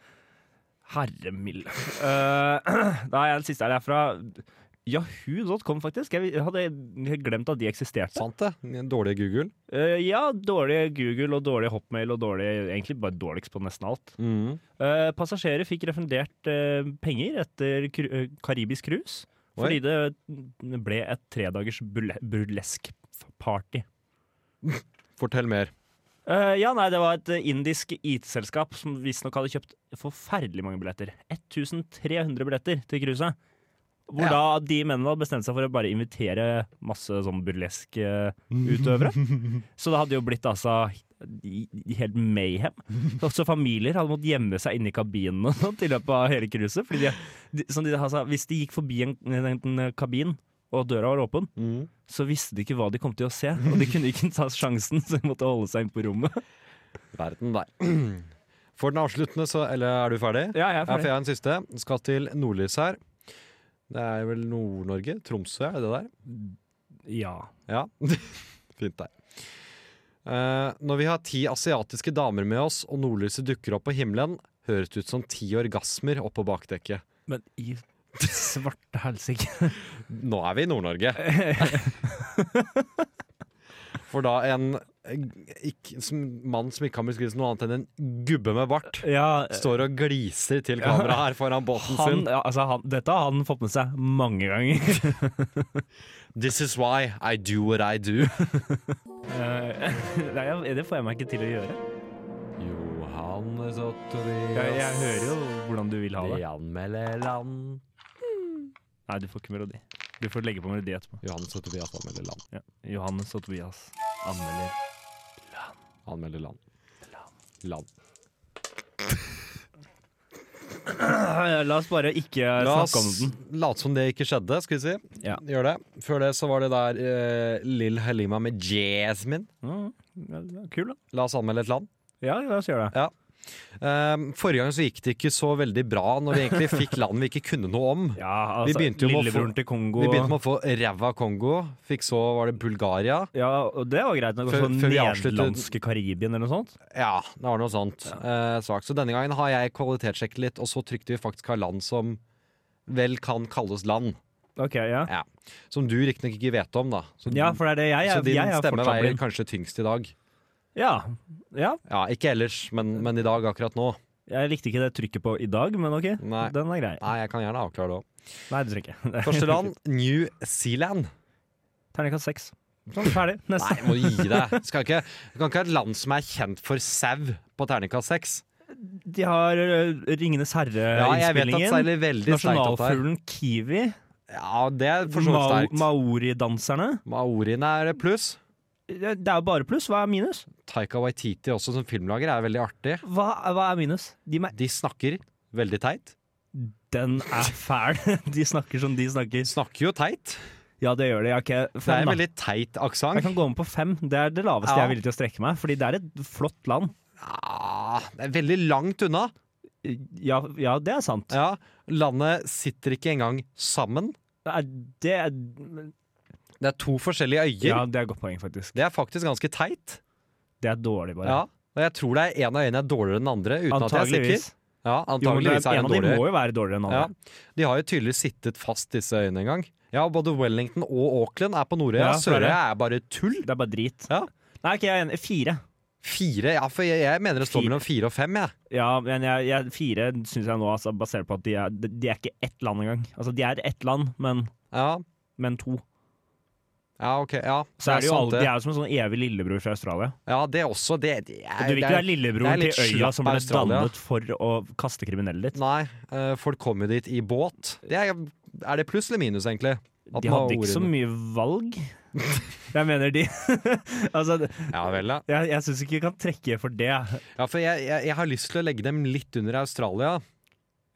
S5: Herre mild. Eh, da er den siste her er fra Yahoo.com, faktisk. Jeg hadde helt glemt at de eksisterte.
S4: Sant det? Dårlig Google.
S5: Eh, ja, dårlig Google og dårlig Hotmail og dårlig Egentlig bare dårligst på nesten alt. Eh, passasjerer fikk refundert eh, penger etter kru, eh, karibisk cruise
S4: Oi.
S5: fordi det ble et tredagers burle burlesk-party.
S4: Fortell mer.
S5: Eh, ja, nei, det var et eh, indisk IT-selskap som visstnok hadde kjøpt forferdelig mange billetter. 1300 billetter til cruiset. Hvor da de mennene hadde bestemt seg for å bare invitere masse sånn burleske utøvere. Så det hadde jo blitt altså i- i- helt mayhem. Også familier hadde måttet gjemme seg inne i kabinen og sånt i løpet av hele cruiset. Fordi de, de, som de, altså, hvis de gikk forbi en, en, en kabin, og døra var åpen, så visste de ikke hva de kom til å se. Og de kunne ikke ta sjansen, så de måtte holde seg inne på rommet.
S4: Verden der. For den avsluttende, så Eller er du ferdig?
S5: Ja,
S4: Ja,
S5: jeg
S4: for jeg har en siste. Skal til Nordlys her. Det er vel Nord-Norge? Tromsø, er det der?
S5: Ja.
S4: Ja, fint der. Eh, når vi har ti asiatiske damer med oss, og nordlyset dukker opp på himmelen, høres det ut som ti orgasmer oppå bakdekket.
S5: Men i svarte helsike.
S4: Nå er vi i Nord-Norge. For da en eh, ikk- som, mann som ikke kan beskrives som noe annet enn en gubbe med bart,
S5: Ja,
S4: står og gliser til kamera her foran båten
S5: han,
S4: sin.
S5: ja, altså, han, dette har han fått med seg mange ganger.
S4: This is why I do what I do.
S5: Eh, Nei, jeg- det får jeg meg ikke til å gjøre.
S4: Johannes og
S5: Jeg, jeg
S4: Tobias,
S5: hører jo hvordan du vil ha
S4: vi
S5: det.
S4: anmelder land.
S5: Nei, du får ikke melodi. Du får legge på melodi etterpå.
S4: Johannes og Tobias anmelder land.
S5: Ja. Johannes og Tobias anmelder.
S4: Anmelder land. Land.
S5: Eh, La oss bare ikke
S4: La oss
S5: snakke om den.
S4: late som det ikke skjedde, skal vi si.
S5: Ja.
S4: Gjør det. Før det så var det der eh, Lill Helima med Jasmine.
S5: Mm, ja, det var Kul, da.
S4: La oss anmelde et land.
S5: Ja, la oss gjøre det.
S4: Ehm, forrige gang så gikk det ikke så veldig bra når vi egentlig fikk land vi ikke kunne noe om.
S5: Ja,
S4: Vi
S5: altså,
S4: begynte jo med å få-
S5: Lillebroren til Kongo.
S4: Vi begynte med å få ræva Kongo, fikk så var det Bulgaria.
S5: Ja, og det var greit nok.
S4: Før-
S5: Før,
S4: før vi avslutter-
S5: nederlandske Karibien eller noe sånt.
S4: Ja, det var noe sånt. eh, svakt. Så denne gangen har jeg kvalitetssjekket litt, og så trykte vi faktisk av land som vel kan kalles land.
S5: Ok, ja.
S4: Ja. Som du riktignok ikke vet om, da. Så,
S5: Ja, for det er det jeg
S4: så
S5: er.
S4: din
S5: Jeg er
S4: stemme
S5: fortsatt
S4: veier
S5: blind.
S4: kanskje tyngst i dag.
S5: Ja. ja.
S4: Ja, ikke ellers, men, men i dag, akkurat nå.
S5: Jeg likte ikke det trykket på i dag, men OK.
S4: Nei.
S5: Den er grei.
S4: Nei, jeg kan gjerne avklare det òg.
S5: Nei, du trenger ikke.
S4: Første land, New Zealand.
S5: Terningkast seks. Sånn, ferdig.
S4: Nei,
S5: Neste.
S4: må du gi deg. Skal ikke, du kan ikke ha et land som er kjent for sau på terningkast seks.
S5: De har ø, Ringenes
S4: Ja, jeg vet at
S5: herre-innspillingen.
S4: seiler veldig sterkt opp der.
S5: Nasjonalfuglen kiwi.
S4: Ja, det er for så vidt
S5: Mao
S4: sterkt.
S5: Maoridanserne.
S4: Maorien er pluss.
S5: Det det er jo bare pluss. Hva er minus?
S4: Taika Waititi også som filmlager er veldig artig.
S5: Hva, hva er minus? De med
S4: De snakker veldig teit.
S5: Den er fæl. De snakker som de snakker.
S4: Snakker jo teit.
S5: Ja, det gjør de. Ok,
S4: Det er
S5: fem,
S4: en
S5: da.
S4: veldig teit
S5: Jeg
S4: aksent.
S5: kan gå med på fem. Det er det laveste
S4: Ja.
S5: jeg er villig til å strekke meg. Fordi det er et flott land.
S4: Ah, det er veldig langt unna.
S5: Ja, ja det er sant.
S4: Ja, landet sitter ikke engang sammen.
S5: Det er, det er,
S4: Det er to forskjellige øyer.
S5: ja, det er et godt poeng, faktisk.
S4: Det er faktisk ganske teit.
S5: Det er dårlig, bare.
S4: Ja. Og jeg tror det er en av øyene er dårligere enn den andre. Uten At
S5: Antageligvis.
S4: jeg er sikker. Ja,
S5: Jo, men det
S4: antageligvis
S5: er,
S4: er
S5: en
S4: den
S5: av de må
S4: dårligere.
S5: jo være dårligere enn
S4: Ja.
S5: andre.
S4: De har jo tydelig sittet fast, disse øyene, en gang. Ja, og både Wellington og Auckland er på Nordøya.
S5: Ja, så er det.
S4: Sørøya er bare tull.
S5: Det er bare drit.
S4: Ja.
S5: Nei, ok, jeg er enig. Fire.
S4: Fire, ja, for jeg, jeg mener det står
S5: Fire.
S4: mellom fire og fem, jeg.
S5: Ja, men jeg, jeg, fire syns jeg nå, altså, basert på at de er, de- de er ikke ett land engang. Altså, de er ett land, men,
S4: Ja,
S5: men to.
S4: ja ok. Ja,
S5: Så er det jo
S4: sant,
S5: alle, de er jo som en sånn evig lillebror fra Australia.
S4: Ja, det er også. Det, det er,
S5: Og du vil
S4: det
S5: ikke
S4: er- det
S5: være
S4: er
S5: lillebroren
S4: litt
S5: til øya
S4: slapp
S5: som ble
S4: Australia.
S5: dannet for å kaste kriminelle ditt.
S4: Nei, eh, folk kommer dit i båt. Det er, er det pluss eller minus, egentlig? At
S5: De
S4: man har
S5: hadde ikke så
S4: ordene.
S5: mye valg. Jeg mener de Altså,
S4: Ja vel, ja.
S5: jeg, jeg syns ikke vi kan trekke for det.
S4: ja for jeg, jeg, jeg har lyst til å legge dem litt under Australia.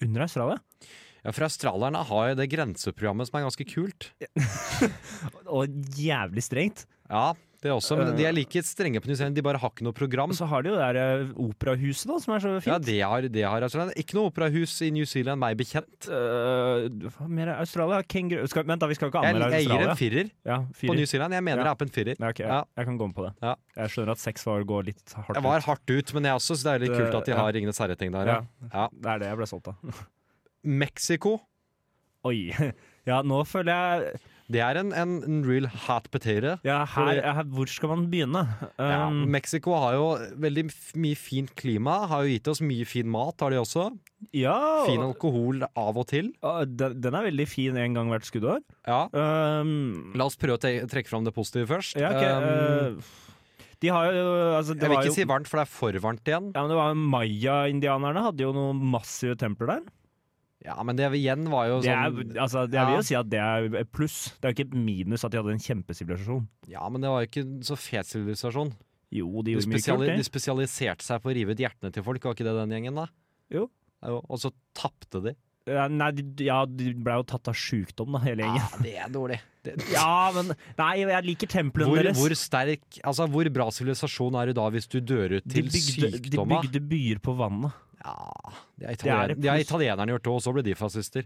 S5: Under Australia?
S4: Ja, For australierne har jo det grenseprogrammet som er ganske kult.
S5: Og jævlig strengt.
S4: Ja, det også. Men de er like strenge på New Zealand, de bare har ikke noe program.
S5: Eh. Og så har de jo det der eh, operahuset, da, som er så
S4: Ja,
S5: fint.
S4: det har, det har Australia. Ikke noe operahus i New Zealand, meg bekjent.
S5: Eh, hva mer er Australia? Kenguru skal, Vent, da, vi skal ikke
S4: Jeg,
S5: anmelde
S4: jeg gir en
S5: Australia.
S4: firer
S5: Ja,
S4: på
S5: fire.
S4: New Zealand. Jeg mener
S5: Ja.
S4: det er på en firer.
S5: Ja, ok, jeg,
S4: Ja.
S5: jeg kan gå med på det.
S4: Ja.
S5: Jeg skjønner at seks var å gå litt hardt
S4: Det
S5: ut.
S4: var hardt ut, men jeg også, så det er litt
S5: Det-
S4: kult at de
S5: ja.
S4: har Ringenes herre-ting der.
S5: ja.
S4: Ja. Ja.
S5: Det er det jeg ble solgt av.
S4: Mexico,
S5: Oi. Ja, nå føler jeg
S4: det er en, en, en real hot potato.
S5: ja, her,
S4: Fordi-
S5: her, Hvor skal man begynne?
S4: Ja,
S5: Um,
S4: Mexico har jo veldig f- mye fint klima, har jo gitt oss mye fin mat, har de også.
S5: ja,
S4: Fin alkohol av og til.
S5: og- den, den er veldig fin en gang hvert skuddår.
S4: Ja.
S5: Um,
S4: La oss prøve å te- trekke fram det positive først.
S5: ja, ok.
S4: Um,
S5: eh, de har jo altså, det
S4: jeg vil
S5: var
S4: ikke
S5: jo,
S4: si varmt, for det er for varmt igjen.
S5: ja, men det var jo Maya-indianerne hadde jo noen massive templer der.
S4: Ja, men det igjen var jo
S5: Det er,
S4: sånn
S5: altså, jeg vil
S4: ja.
S5: jo si at det er et pluss. Det er jo ikke et minus at de hadde en kjempesivilisasjon.
S4: Ja, men det var jo ikke en så fet sivilisasjon.
S5: Jo, de
S4: De,
S5: gjorde mye kult.
S4: spesiali
S5: det.
S4: de spesialiserte seg på å rive ut hjertene til folk, var ikke det den gjengen, da?
S5: Jo.
S4: Ja, jo, Og så tapte de.
S5: Ja, Nei, de- ja, de ble jo tatt av sjukdom, da, hele gjengen.
S4: Ja, det er dårlig. Det,
S5: Ja, men Nei, jeg liker templene
S4: hvor,
S5: deres.
S4: hvor sterk Altså, hvor bra sivilisasjon er du da hvis du dør ut
S5: de
S4: til
S5: bygde, de
S4: sykdomma?
S5: bygde byer på vannet.
S4: Ja, det er,
S5: er
S4: italien,
S5: et
S4: det har
S5: pluss.
S4: italienerne gjort òg, og så ble de fascister.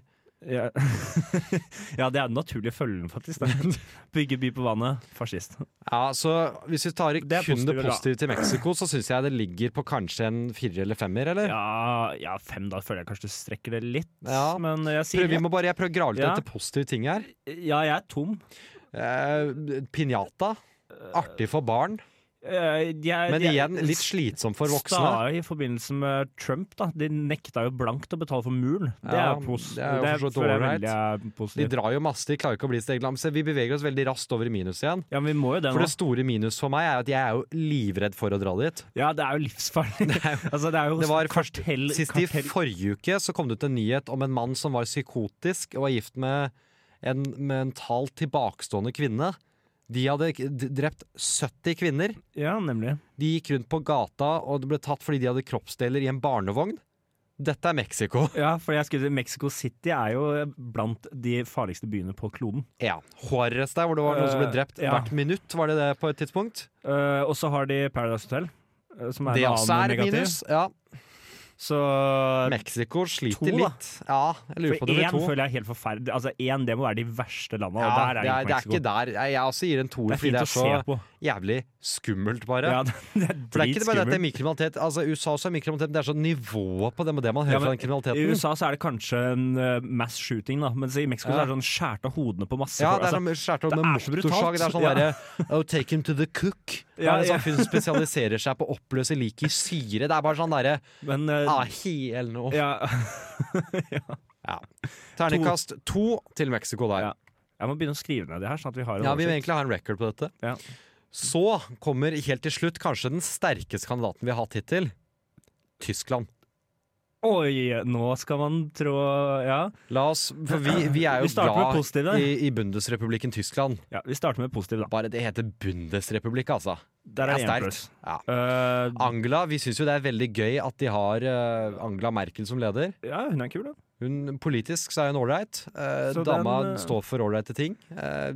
S5: Ja, ja det er den naturlige følgen, faktisk. det. Bygge by på vannet, fascist.
S4: Ja, så hvis vi tar i
S5: Det er
S4: kun det
S5: positive, da.
S4: positive til Mexico, så syns jeg det ligger på kanskje en firer eller femmer, eller?
S5: Ja, ja, fem, da føler jeg kanskje du strekker det litt.
S4: Ja.
S5: Men jeg
S4: Prøv,
S5: sier
S4: vi må bare, jeg prøver å grave litt
S5: Ja.
S4: etter positive ting her.
S5: Ja, jeg er tom.
S4: Eh, Pinjata. Artig for barn,
S5: Eh, jeg-
S4: men
S5: jeg-
S4: igjen litt slitsom for voksne.
S5: Sta i forbindelse med Trump, da. De nekta jo blankt å betale for muren. Det er
S4: Ja,
S5: jo pos-
S4: det er jo for så vidt
S5: føler jeg
S4: ålreit.
S5: veldig er
S4: De
S5: positivt.
S4: drar jo masse, de klarer ikke å bli sitt eget land. Se, vi beveger oss veldig raskt over i minus igjen.
S5: Ja, men vi må jo det
S4: For
S5: nå.
S4: det store minus for meg er at jeg er jo livredd for å dra dit.
S5: Ja, det er jo livsfarlig. altså, det er jo
S4: Det var først-
S5: kartell,
S4: Sist i
S5: kartell.
S4: forrige uke så kom det ut en nyhet om en mann som var psykotisk og var gift med en mentalt tilbakestående kvinne. De hadde k- d- drept 70 kvinner.
S5: Ja, nemlig.
S4: De gikk rundt på gata og det ble tatt fordi de hadde kroppsdeler i en barnevogn. Dette er Mexico.
S5: Ja, for jeg skulle si Mexico City er jo blant de farligste byene på kloden.
S4: Ja. Juarez der, hvor det var noen som ble
S5: Eh,
S4: drept
S5: ja.
S4: hvert minutt, var det det på et tidspunkt?
S5: Eh, og så har de Paradise Hotel, eh, som er
S4: Det
S5: en
S4: også
S5: annen
S4: er et
S5: negativ.
S4: minus. Ja.
S5: Så
S4: Mexico sliter
S5: to, da.
S4: litt. Ja, jeg lurer på
S5: for
S4: om det
S5: én
S4: blir to.
S5: føler jeg er helt forferdelig. Altså, én, det må være de verste landa,
S4: Ja,
S5: og der er,
S4: det, er, det er
S5: Mexico.
S4: ikke der. Jeg, jeg også gir en
S5: det
S4: toer,
S5: er
S4: fordi
S5: fint
S4: det
S5: å
S4: er så
S5: se på.
S4: jævlig skummelt, bare.
S5: Ja, det, det er
S4: For det er ikke bare at det er
S5: dritskummelt.
S4: mye kriminalitet. Altså, USA også er mye kriminalitet, men det er sånn nivået på det med det man hører
S5: Ja, men
S4: fra den
S5: I
S4: kriminaliteten.
S5: USA så er det kanskje en eh, mass shooting, da, mens i Mexico
S4: Ja.
S5: så er det sånn skjært av hodene på masse
S4: Ja, det
S5: folk.
S4: er
S5: Altså,
S4: sånn skjært opp
S5: det
S4: med
S5: er så brutalt.
S4: motorsag. Det er sånn
S5: Ja.
S4: derre Oh, take him to the cook. Det er
S5: Ja,
S4: en
S5: ja.
S4: sånn film som spesialiserer seg på å oppløse liket i syre. Det er bare sånn derre
S5: men eh,
S4: ah, Hel nå.
S5: ja.
S4: Ja. Terningkast to til Mexico der.
S5: Ja. Jeg må begynne å skrive ned det her, sånn at vi har
S4: Ja,
S5: en
S4: vi vil
S5: oversikt.
S4: egentlig ha en record på dette.
S5: Ja.
S4: Så kommer helt til slutt kanskje den sterkeste kandidaten vi har hatt hittil. Tyskland.
S5: Oi, nå skal man trå Ja.
S4: La oss, for vi, vi er jo
S5: Vi starter med
S4: glad
S5: positive.
S4: i, i Bundesrepublikken Tyskland.
S5: ja vi starter med positiv, da.
S4: Bare det heter Bundesrepublikk, altså.
S5: Der
S4: Det er
S5: er én
S4: sterkt. Ah.
S5: pluss.
S4: Ja.
S5: Eh,
S4: Angela, vi syns jo det er veldig gøy at de har eh, Angela Merkel som leder.
S5: ja, hun er kul, da.
S4: Hun, politisk så er hun ålreit. Eh,
S5: Så
S4: dama
S5: den, eh,
S4: står for ålreite ting. Eh,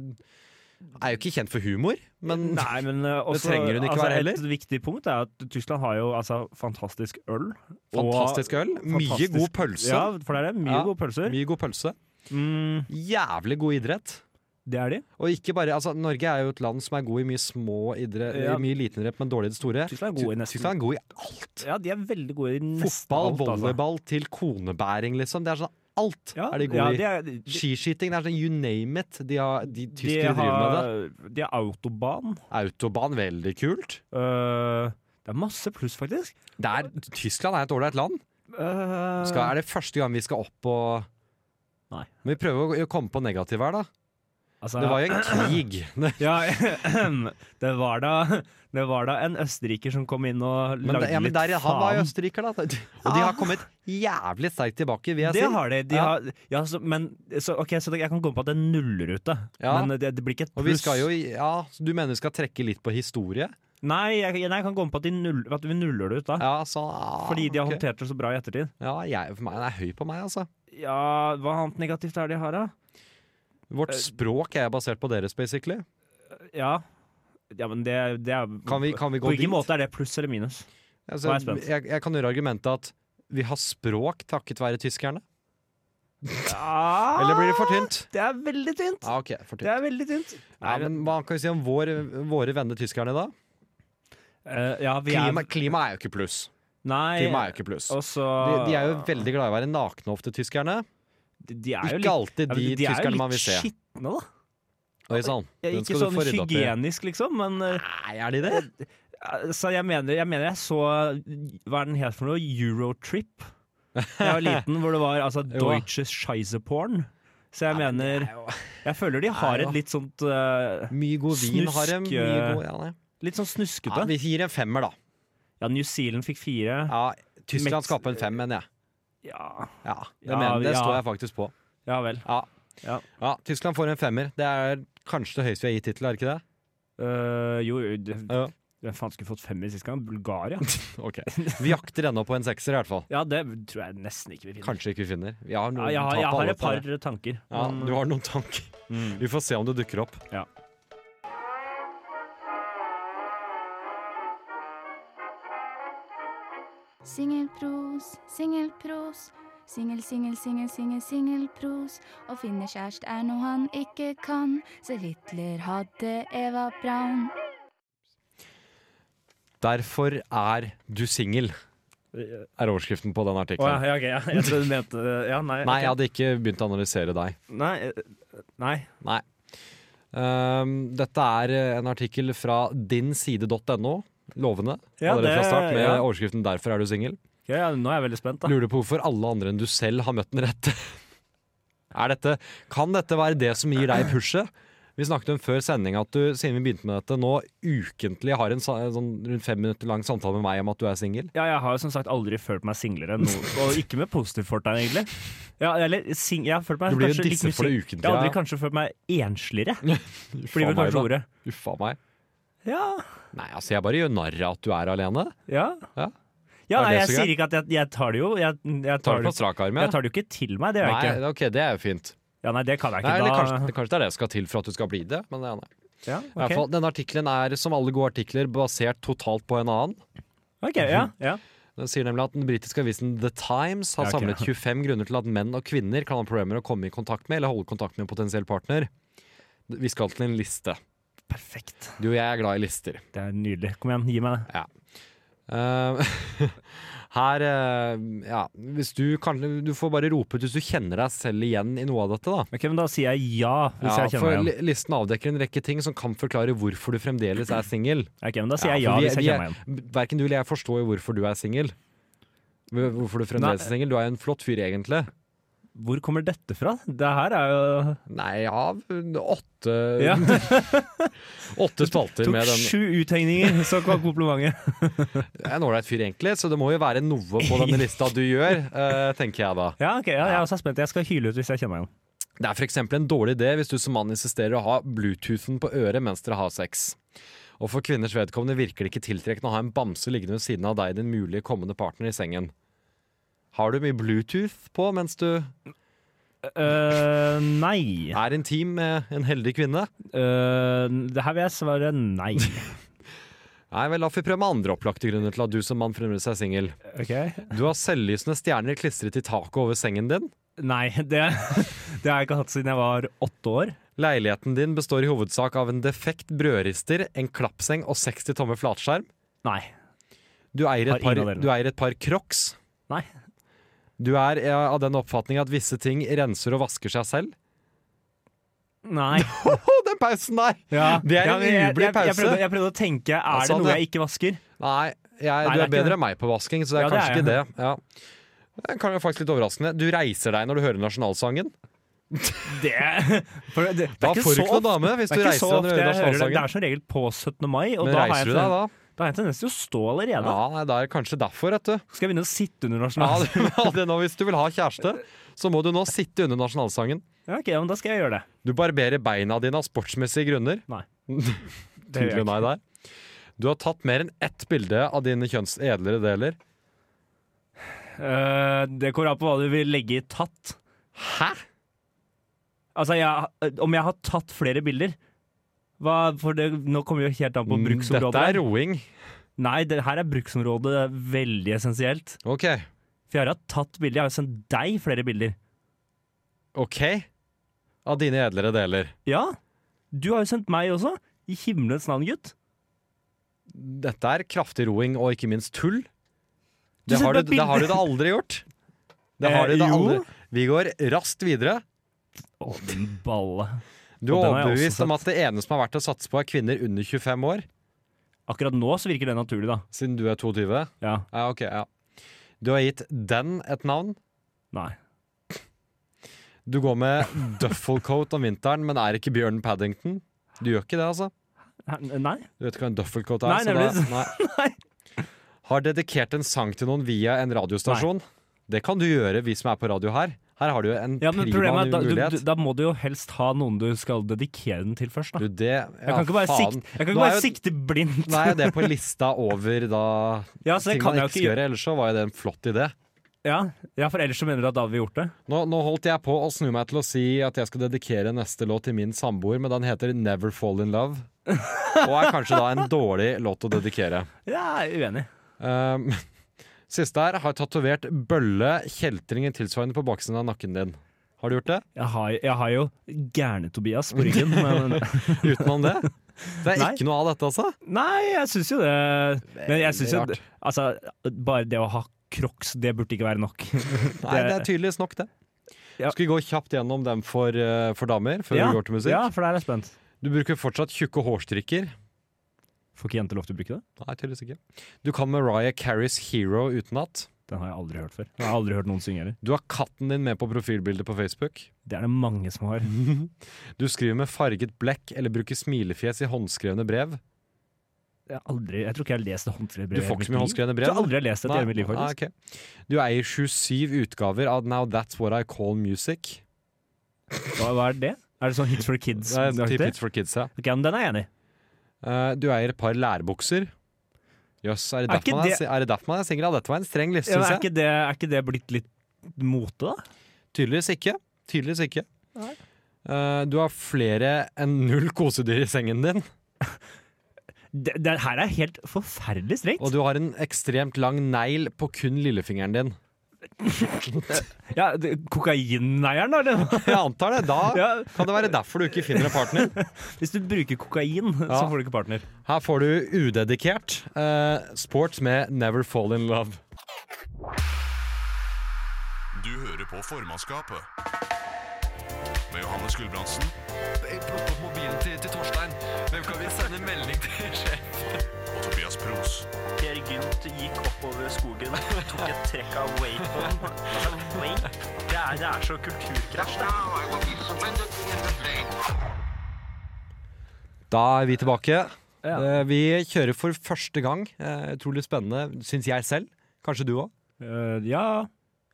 S4: er jo ikke kjent for humor, men
S5: Nei, men eh, også,
S4: trenger hun ikke
S5: altså,
S4: være heller.
S5: Et viktig punkt er at Tyskland har jo altså, fantastisk øl.
S4: fantastisk øl. Mye
S5: fantastisk-
S4: god
S5: Og,
S4: pølse.
S5: ja, for det er det. Mye
S4: Ja.
S5: gode pølser.
S4: Mye god pølse.
S5: Mm,
S4: Jævlig god idrett.
S5: det er de.
S4: Og ikke bare, altså Norge er jo et land som er god i mye små idrett,
S5: Ja.
S4: i mye liten idrett, men dårlig i det store.
S5: Tyskland er gode i nesten
S4: Tyskland er god i alt.
S5: Ja, de er veldig gode i nesten
S4: Fotball,
S5: alt, altså.
S4: volleyball til konebæring, liksom. Det er sånn alt
S5: Ja,
S4: er de
S5: ja,
S4: gode i.
S5: de er, de, de,
S4: Skiskyting, det er sånn you name it. De, har, de
S5: de,
S4: tyskere driver med det.
S5: har, de har autobahn.
S4: Autobahn, veldig kult.
S5: Eh, det er masse pluss, faktisk.
S4: Det er, Tyskland er et ålreit land.
S5: Eh,
S4: Skal, er det første gang vi skal opp og
S5: Nei.
S4: Men vi prøver å- å komme på negativ her, da.
S5: altså,
S4: Det var jo en krig. Men
S5: Ja, det var da Det var da en østerriker som kom inn og lagde
S4: det, ja, men
S5: litt
S4: der, han var jo
S5: faen.
S4: østerriker, da. Og de har kommet jævlig sterkt tilbake, vil jeg
S5: Det
S4: si.
S5: har de. de
S4: Ja.
S5: har, ja, så, men så, ok, så jeg kan komme på at det nuller ut, da.
S4: Ja.
S5: Men det, det blir ikke et
S4: Og vi
S5: pluss.
S4: skal jo, i- ja, så Du mener vi skal trekke litt på historie?
S5: Nei, jeg, nei, jeg kan komme på at, de null, at vi nuller det ut, da.
S4: Ja, så, ah,
S5: Fordi de har
S4: ok.
S5: håndtert det så bra i ettertid.
S4: Ja, jeg, for meg, Den er høy på meg, altså.
S5: Ja, hva annet negativt er det de har, da? Eh,
S4: Vårt språk er basert på deres, basically.
S5: Ja. Ja, men det, det er
S4: Kan vi, kan vi
S5: På
S4: gå
S5: hvilken måte er det pluss eller minus? Nå er jeg
S4: Altså,
S5: spent.
S4: jeg, jeg kan gjøre argumentet at vi har språk takket være tyskerne. Eller blir det for tynt?
S5: Det er veldig tynt.
S4: Ja, ok, for
S5: Det
S4: tynt.
S5: er veldig tynt.
S4: Ja, men Hva kan vi si om vår, våre venner tyskerne, da?
S5: Eh, ja, vi er
S4: Klima, klima er jo ikke pluss.
S5: Nei,
S4: Klima er jo ikke pluss.
S5: og så
S4: De, de er jo veldig glad i å være nakne ofte, tyskerne.
S5: de, de er jo
S4: Ikke
S5: litt,
S4: alltid
S5: ja, men
S4: de
S5: de er jo
S4: tyskerne man vil
S5: litt
S4: se.
S5: skitne, da.
S4: Oi sann,
S5: Ja,
S4: den
S5: Ikke
S4: skal du
S5: sånn
S4: få rydda opp i.
S5: hygienisk, liksom, men eh,
S4: Nei, er de det?
S5: Så jeg mener, jeg mener jeg så Hva er den helt for noe? Eurotrip? Da jeg var liten, hvor det var altså
S4: Jo.
S5: Deutsche Scheiseporn. Så jeg mener Jeg føler de har
S4: Det er jo-
S5: et litt sånt eh,
S4: Mye god vin har de. Mye
S5: Snuske-
S4: god, ja, nei.
S5: Litt sånn
S4: ja,
S5: snuskete.
S4: vi gir en femmer, da.
S5: Ja, New Zealand fikk fire.
S4: Ja, Tyskland
S5: Mex-
S4: skal på en fem, mener jeg.
S5: Ja,
S4: Ja, det,
S5: Ja,
S4: mener, det
S5: ja.
S4: står jeg faktisk på.
S5: ja vel.
S4: Ja.
S5: Ja.
S4: ja, Tyskland får en femmer. Det er kanskje det høyeste vi har gitt hittil, er det ikke det?
S5: Eh, jo, jo, det-
S4: Ja.
S5: hvem faen skulle fått femmer sist gang? Bulgaria?
S4: Ok, Vi jakter ennå på en sekser, i hvert fall.
S5: Ja, det tror jeg nesten ikke vi finner.
S4: Kanskje ikke vi finner. Vi har
S5: Ja,
S4: noen
S5: jeg, har- jeg
S4: tap
S5: har
S4: alle
S5: et par
S4: steder.
S5: tanker.
S4: Ja,
S5: men-
S4: du har noen tanker.
S5: Mm.
S4: Vi får se om det dukker opp.
S5: Ja.
S7: Singelpros, singelpros. Singel, singel, singel, singel, singelpros. Å finne kjæreste er noe han ikke kan, så Hitler hadde Eva Braun.
S4: Derfor er du singel,
S5: Eh,
S4: er overskriften på den
S5: Å ja,
S4: artikkelen.
S5: ja, ok, ja. Jeg trodde du mente Ja, nei.
S4: Nei,
S5: ok.
S4: jeg hadde ikke begynt å analysere deg.
S5: Nei, eh, nei.
S4: Nei. Ehm, dette er eh, en artikkel fra dinside.no. Lovende.
S5: Ja,
S4: Allerede fra
S5: det-
S4: start, med
S5: ja.
S4: overskriften 'Derfor er du singel'.
S5: Ja, ja, nå er jeg veldig spent, da.
S4: Lurer på hvorfor alle andre enn du selv har møtt den rette. Er dette, kan dette være det som gir deg pushet? Vi snakket om før sending at du siden vi begynte med dette, nå ukentlig har en sa- en sånn rundt fem minutter lang samtale med meg om at du er singel.
S5: Ja, jeg har jo som sagt aldri følt meg singlere, no, og ikke med positivt fortegn, egentlig. Ja, eller sing, jeg har følt meg
S4: Du blir jo
S5: kanskje litt
S4: disset
S5: mye
S4: for det
S5: sing-
S4: ukentlig,
S5: Jeg har aldri
S4: ja.
S5: kanskje følt meg ensligere, blir
S4: Faen
S5: vel
S4: meg,
S5: kanskje
S4: da.
S5: ordet.
S4: Uffa meg.
S5: Ja,
S4: Nei, altså jeg bare gjør narr av at du er alene.
S5: ja.
S4: Ja.
S5: Ja,
S4: Er
S5: nei,
S4: det
S5: jeg
S4: så
S5: sier ikke at jeg, jeg tar det jo. Jeg, jeg,
S4: Tar
S5: tar
S4: du på
S5: det,
S4: strak arm? ja?
S5: jeg tar det jo ikke til meg, det gjør jeg ikke.
S4: Nei, ok, det er jo fint.
S5: Ja, nei, det kan jeg
S4: Nei, eller
S5: ikke.
S4: kanskje, kanskje det er det som skal til for at du skal bli det. Men det er nei.
S5: Da ja,
S4: I hvert
S5: ok.
S4: fall, Denne artikkelen er, som alle gode artikler, basert totalt på en annen.
S5: Ok, ja,
S4: Mhm.
S5: ja.
S4: Den sier nemlig at den britiske avisen The Times har
S5: Ja, ok.
S4: samlet 25 grunner til at menn og kvinner kan ha problemer å komme i kontakt med eller holde kontakt med en potensiell partner. Vi skal til en liste.
S5: Perfekt.
S4: Du og jeg er glad i lister.
S5: Det er nydelig. Kom igjen, gi meg det.
S4: Eh, her eh, Ja, hvis du kan Du får bare rope ut hvis du kjenner deg selv igjen i noe av dette, da.
S5: Ok, men da sier jeg ja, hvis
S4: Ja,
S5: jeg
S4: for
S5: kjenner meg igjen.
S4: li- Listen avdekker en rekke ting som kan forklare hvorfor du fremdeles er singel.
S5: Ok, men da sier jeg
S4: for
S5: ja,
S4: vi-
S5: hvis jeg
S4: vi
S5: kjenner
S4: er-
S5: meg igjen.
S4: Verken du eller jeg forstår jo hvorfor du er singel. Hvorfor du fremdeles er singel. Du er jo en flott fyr, egentlig.
S5: Hvor kommer dette fra? Det her er jo
S4: Nei, av åtte
S5: Ja.
S4: Åtte spalter
S5: Tok
S4: med den.
S5: sju uthengninger, så kom komplimentet.
S4: Jeg er en ålreit fyr, egentlig, så det må jo være noe på denne lista du gjør, eh, tenker jeg da.
S5: Ja, ok, ja, jeg er også spent. Jeg skal hyle ut hvis jeg kjenner meg igjen.
S4: Det er f.eks. en dårlig idé hvis du som mann insisterer å ha bluetoothen på øret mens dere har sex. Og for kvinners vedkommende virker det ikke tiltrekkende å ha en bamse liggende ved siden av deg, din mulige kommende partner, i sengen. Har du mye bluetooth på mens du
S5: Øh, nei.
S4: er intim med en heldig kvinne?
S5: Øh, det her vil jeg svare nei.
S4: Nei vel, la oss prøve med andre opplagte grunner til at du som mann fremdeles er singel.
S5: Ok?
S4: Du har selvlysende stjerner klistret i taket over sengen din.
S5: Nei, det, det har jeg ikke hatt siden jeg var åtte år.
S4: Leiligheten din består i hovedsak av en defekt brødrister, en klappseng og 60 tommer flatskjerm.
S5: Nei.
S4: Du eier
S5: Har
S4: et par,
S5: ingen av delene.
S4: du eier et par crocs.
S5: Nei.
S4: Du er eh, av den oppfatning at visse ting renser og vasker seg selv.
S5: Nei.
S4: Å, den pausen der!
S5: Ja.
S4: Det er
S5: Ja,
S4: en
S5: men jeg-
S4: ublid
S5: jeg- Jeg,
S4: pause.
S5: prøvde- jeg prøvde å tenke,
S4: Ja,
S5: er Altså, det
S4: sånn,
S5: noe
S4: ja.
S5: jeg ikke vasker?
S4: Nei, jeg, du
S5: Nei, det
S4: er,
S5: er ikke
S4: bedre
S5: det.
S4: enn meg på vasking, så det er
S5: Ja, det
S4: kanskje
S5: er jeg.
S4: ikke det. Ja. Det er kanskje faktisk litt overraskende. Du reiser deg når du hører nasjonalsangen.
S5: Det, for det, det er
S4: Da får
S5: ikke
S4: du
S5: så
S4: ikke noe
S5: ofte-
S4: dame hvis
S5: Det
S4: du
S5: er ikke
S4: reiser
S5: så
S4: deg når
S5: ofte
S4: du hører
S5: jeg hører det. Det
S4: nasjonalsangen.
S5: er som regel på 17. mai, og
S4: Men
S5: da har, jeg
S4: reiser du deg
S5: tendens,
S4: da?
S5: da har jeg tendens til å stå allerede.
S4: Ja, nei, det er kanskje derfor, vet du.
S5: Skal jeg begynne å sitte under
S4: Ja,
S5: nasjonal?
S4: det, det er nå, hvis du vil ha kjæreste, så må du nå sitte under nasjonalsangen.
S5: Ja, ok, ja, men da skal jeg gjøre det.
S4: Du barberer beina dine av sportsmessige grunner.
S5: Nei. Det gjør jeg
S4: Tydelig nei der. Du har tatt mer enn ett bilde av dine kjønns edlere deler.
S5: Eh, det kommer an på hva du vil legge i tatt.
S4: Hæ?
S5: eh, Altså, jeg, om jeg har tatt flere bilder Hva, for det, nå kommer vi jo helt an på bruksområdet.
S4: Mm, Dette er roing.
S5: Nei, det, her er bruksområdet veldig essensielt.
S4: Ok.
S5: For jeg har tatt bilder. Jeg har jo sendt deg flere bilder.
S4: Ok. Av dine edlere deler.
S5: Ja, du har jo sendt meg også. I himmelens navn, gutt.
S4: Dette er kraftig roing og ikke minst tull.
S5: Du
S4: Det har
S5: sendte
S4: du,
S5: meg
S4: det har du da aldri gjort. Det har
S5: Eh,
S4: du da
S5: jo.
S4: aldri. Vi går raskt videre.
S5: Å, din balle.
S4: Du
S5: Og
S4: er
S5: den har jeg også
S4: overbevist om
S5: sett.
S4: at det ene som har vært å satse på, er kvinner under 25 år.
S5: Akkurat nå så virker det naturlig, da.
S4: Siden du er 22.
S5: Ja,
S4: Ja, ok, ja. Du har gitt den et navn.
S5: nei.
S4: Du går med duffelcoat om vinteren, men er ikke Bjørn Paddington. Du gjør ikke det, altså.
S5: Hæ, Nei?
S4: Du vet ikke hva en duffelcoat er.
S5: Nei,
S4: så
S5: nemlig.
S4: nei. Har dedikert en sang til noen via en radiostasjon. Det kan du gjøre, vi som er på radio her. Her har du jo en
S5: Ja, men
S4: prima
S5: problemet er at da,
S4: mulighet.
S5: du, da må du jo helst ha noen du skal dedikere den til først, da.
S4: Du, det ja,
S5: Jeg kan ikke bare,
S4: faen.
S5: sikte, jeg kan
S4: Nå
S5: ikke bare
S4: er jo-
S5: sikte blindt.
S4: Nå er jo det på lista over da
S5: Ja, så det
S4: ting
S5: kan
S4: man
S5: jeg
S4: ikke
S5: jo ikke
S4: skal
S5: gjøre.
S4: gjøre. Ellers så var jo det en flott idé.
S5: Ja, ja, for ellers så mener du at da hadde vi gjort det?
S4: Nå, nå holdt jeg på å snu meg til å si at jeg skal dedikere neste låt til min samboer, men den heter Never Fall In Love. Og er kanskje da en dårlig låt å dedikere.
S5: Ja, jeg er uenig.
S4: Um, siste her har tatovert bølle, kjeltring i tilsvarende på baksiden av nakken din. Har du gjort det?
S5: Jeg har, jeg har jo gærne-Tobias på ryggen, men
S4: Utenom det? Det er
S5: Nei.
S4: ikke noe av dette, altså?
S5: Nei, jeg syns jo det. Men jeg syns jo
S4: Veldig rart.
S5: Altså, bare det å ha crocs, det burde ikke være nok.
S4: Nei, det er tydeligvis nok, det.
S5: Ja.
S4: Skal vi gå kjapt gjennom dem for, eh, for damer, før
S5: ja,
S4: vi går til musikk?
S5: Ja, for der er jeg spent.
S4: Du bruker fortsatt tjukke hårstrikker.
S5: Får ikke jenter lov til å bruke det?
S4: Nei, tydeligvis ikke. Du kan Mariah Carries Hero utenat.
S5: Den har jeg aldri hørt før. Jeg har aldri hørt noen synge heller.
S4: Du har katten din med på profilbildet på Facebook.
S5: Det er det mange som har.
S4: Du skriver med farget blekk eller bruker smilefjes i håndskrevne brev.
S5: Jeg, har aldri, jeg tror ikke jeg har lest det
S4: Du
S5: håndskrevne
S4: får ikke så mye håndskrevne brev.
S5: Jeg tror aldri jeg har lest det
S4: Nei,
S5: i hele mitt liv,
S4: nei, Ah,
S5: faktisk.
S4: ok. Du eier 27 utgaver av Now That's What I Call Music.
S5: Hva, hva er det? Er det sånn Hits for kids?
S4: Det er
S5: aktig?
S4: typ hits for kids, ja.
S5: Ok, men Den er jeg enig i.
S4: Eh, Du eier et par lærebukser. Jøss, er, det
S5: Er
S4: derfor
S5: ikke
S4: man er
S5: det-
S4: si- er det derfor man er singel? Ja, Dette var en streng livsstil,
S5: Ja, men
S4: syns
S5: Er,
S4: jeg.
S5: ikke det- er ikke det blitt litt mote, da?
S4: Tydeligvis ikke. Tydeligvis ikke. Eh, Du har flere enn null kosedyr i sengen din.
S5: Det, det her er helt forferdelig strengt.
S4: Og du har en ekstremt lang negl på kun lillefingeren din.
S5: Ja, det- Kokainneieren, da? eller?
S4: Jeg antar det. Da
S5: Ja.
S4: kan det være derfor du ikke finner en partner.
S5: Hvis du bruker kokain, så
S4: Ja.
S5: får du ikke partner.
S4: Her får du udedikert eh, sports med Never Fall In Love.
S1: Du hører på formannskapet. Med Johannes Gulbrandsen
S2: Plukk opp mobilen til, til Torstein. Hvem kan vi sende melding til? sjef?
S1: og Tobias Pros.
S3: Per Gynt gikk oppover skogen, tok et trekk av Waypon. Altså, Wayp, det, er- det er så kulturkrasj. Det er
S4: Da er vi tilbake. Eh, vi kjører for første gang. Eh, utrolig spennende, syns jeg selv. Kanskje du òg.
S5: Eh, ja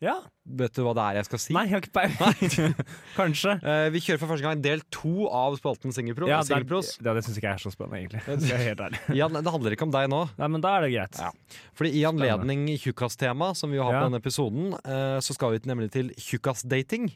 S5: Ja.
S4: Vet du hva det er jeg skal si?
S5: Nei, jeg har ikke peiling. Kanskje.
S4: Eh, vi kjører for første gang del to av spalten Singelpro.
S5: Ja, det, er-
S4: Singelpros.
S5: ja, det syns ikke jeg er så spennende, egentlig. Skal jeg være helt ærlig.
S4: Jan, det handler ikke om deg nå.
S5: Nei, men da er det greit.
S4: Ja. Fordi I anledning tjukkastema, som vi jo har
S5: Ja.
S4: på denne episoden, eh, så skal vi nemlig til tjukkasdating.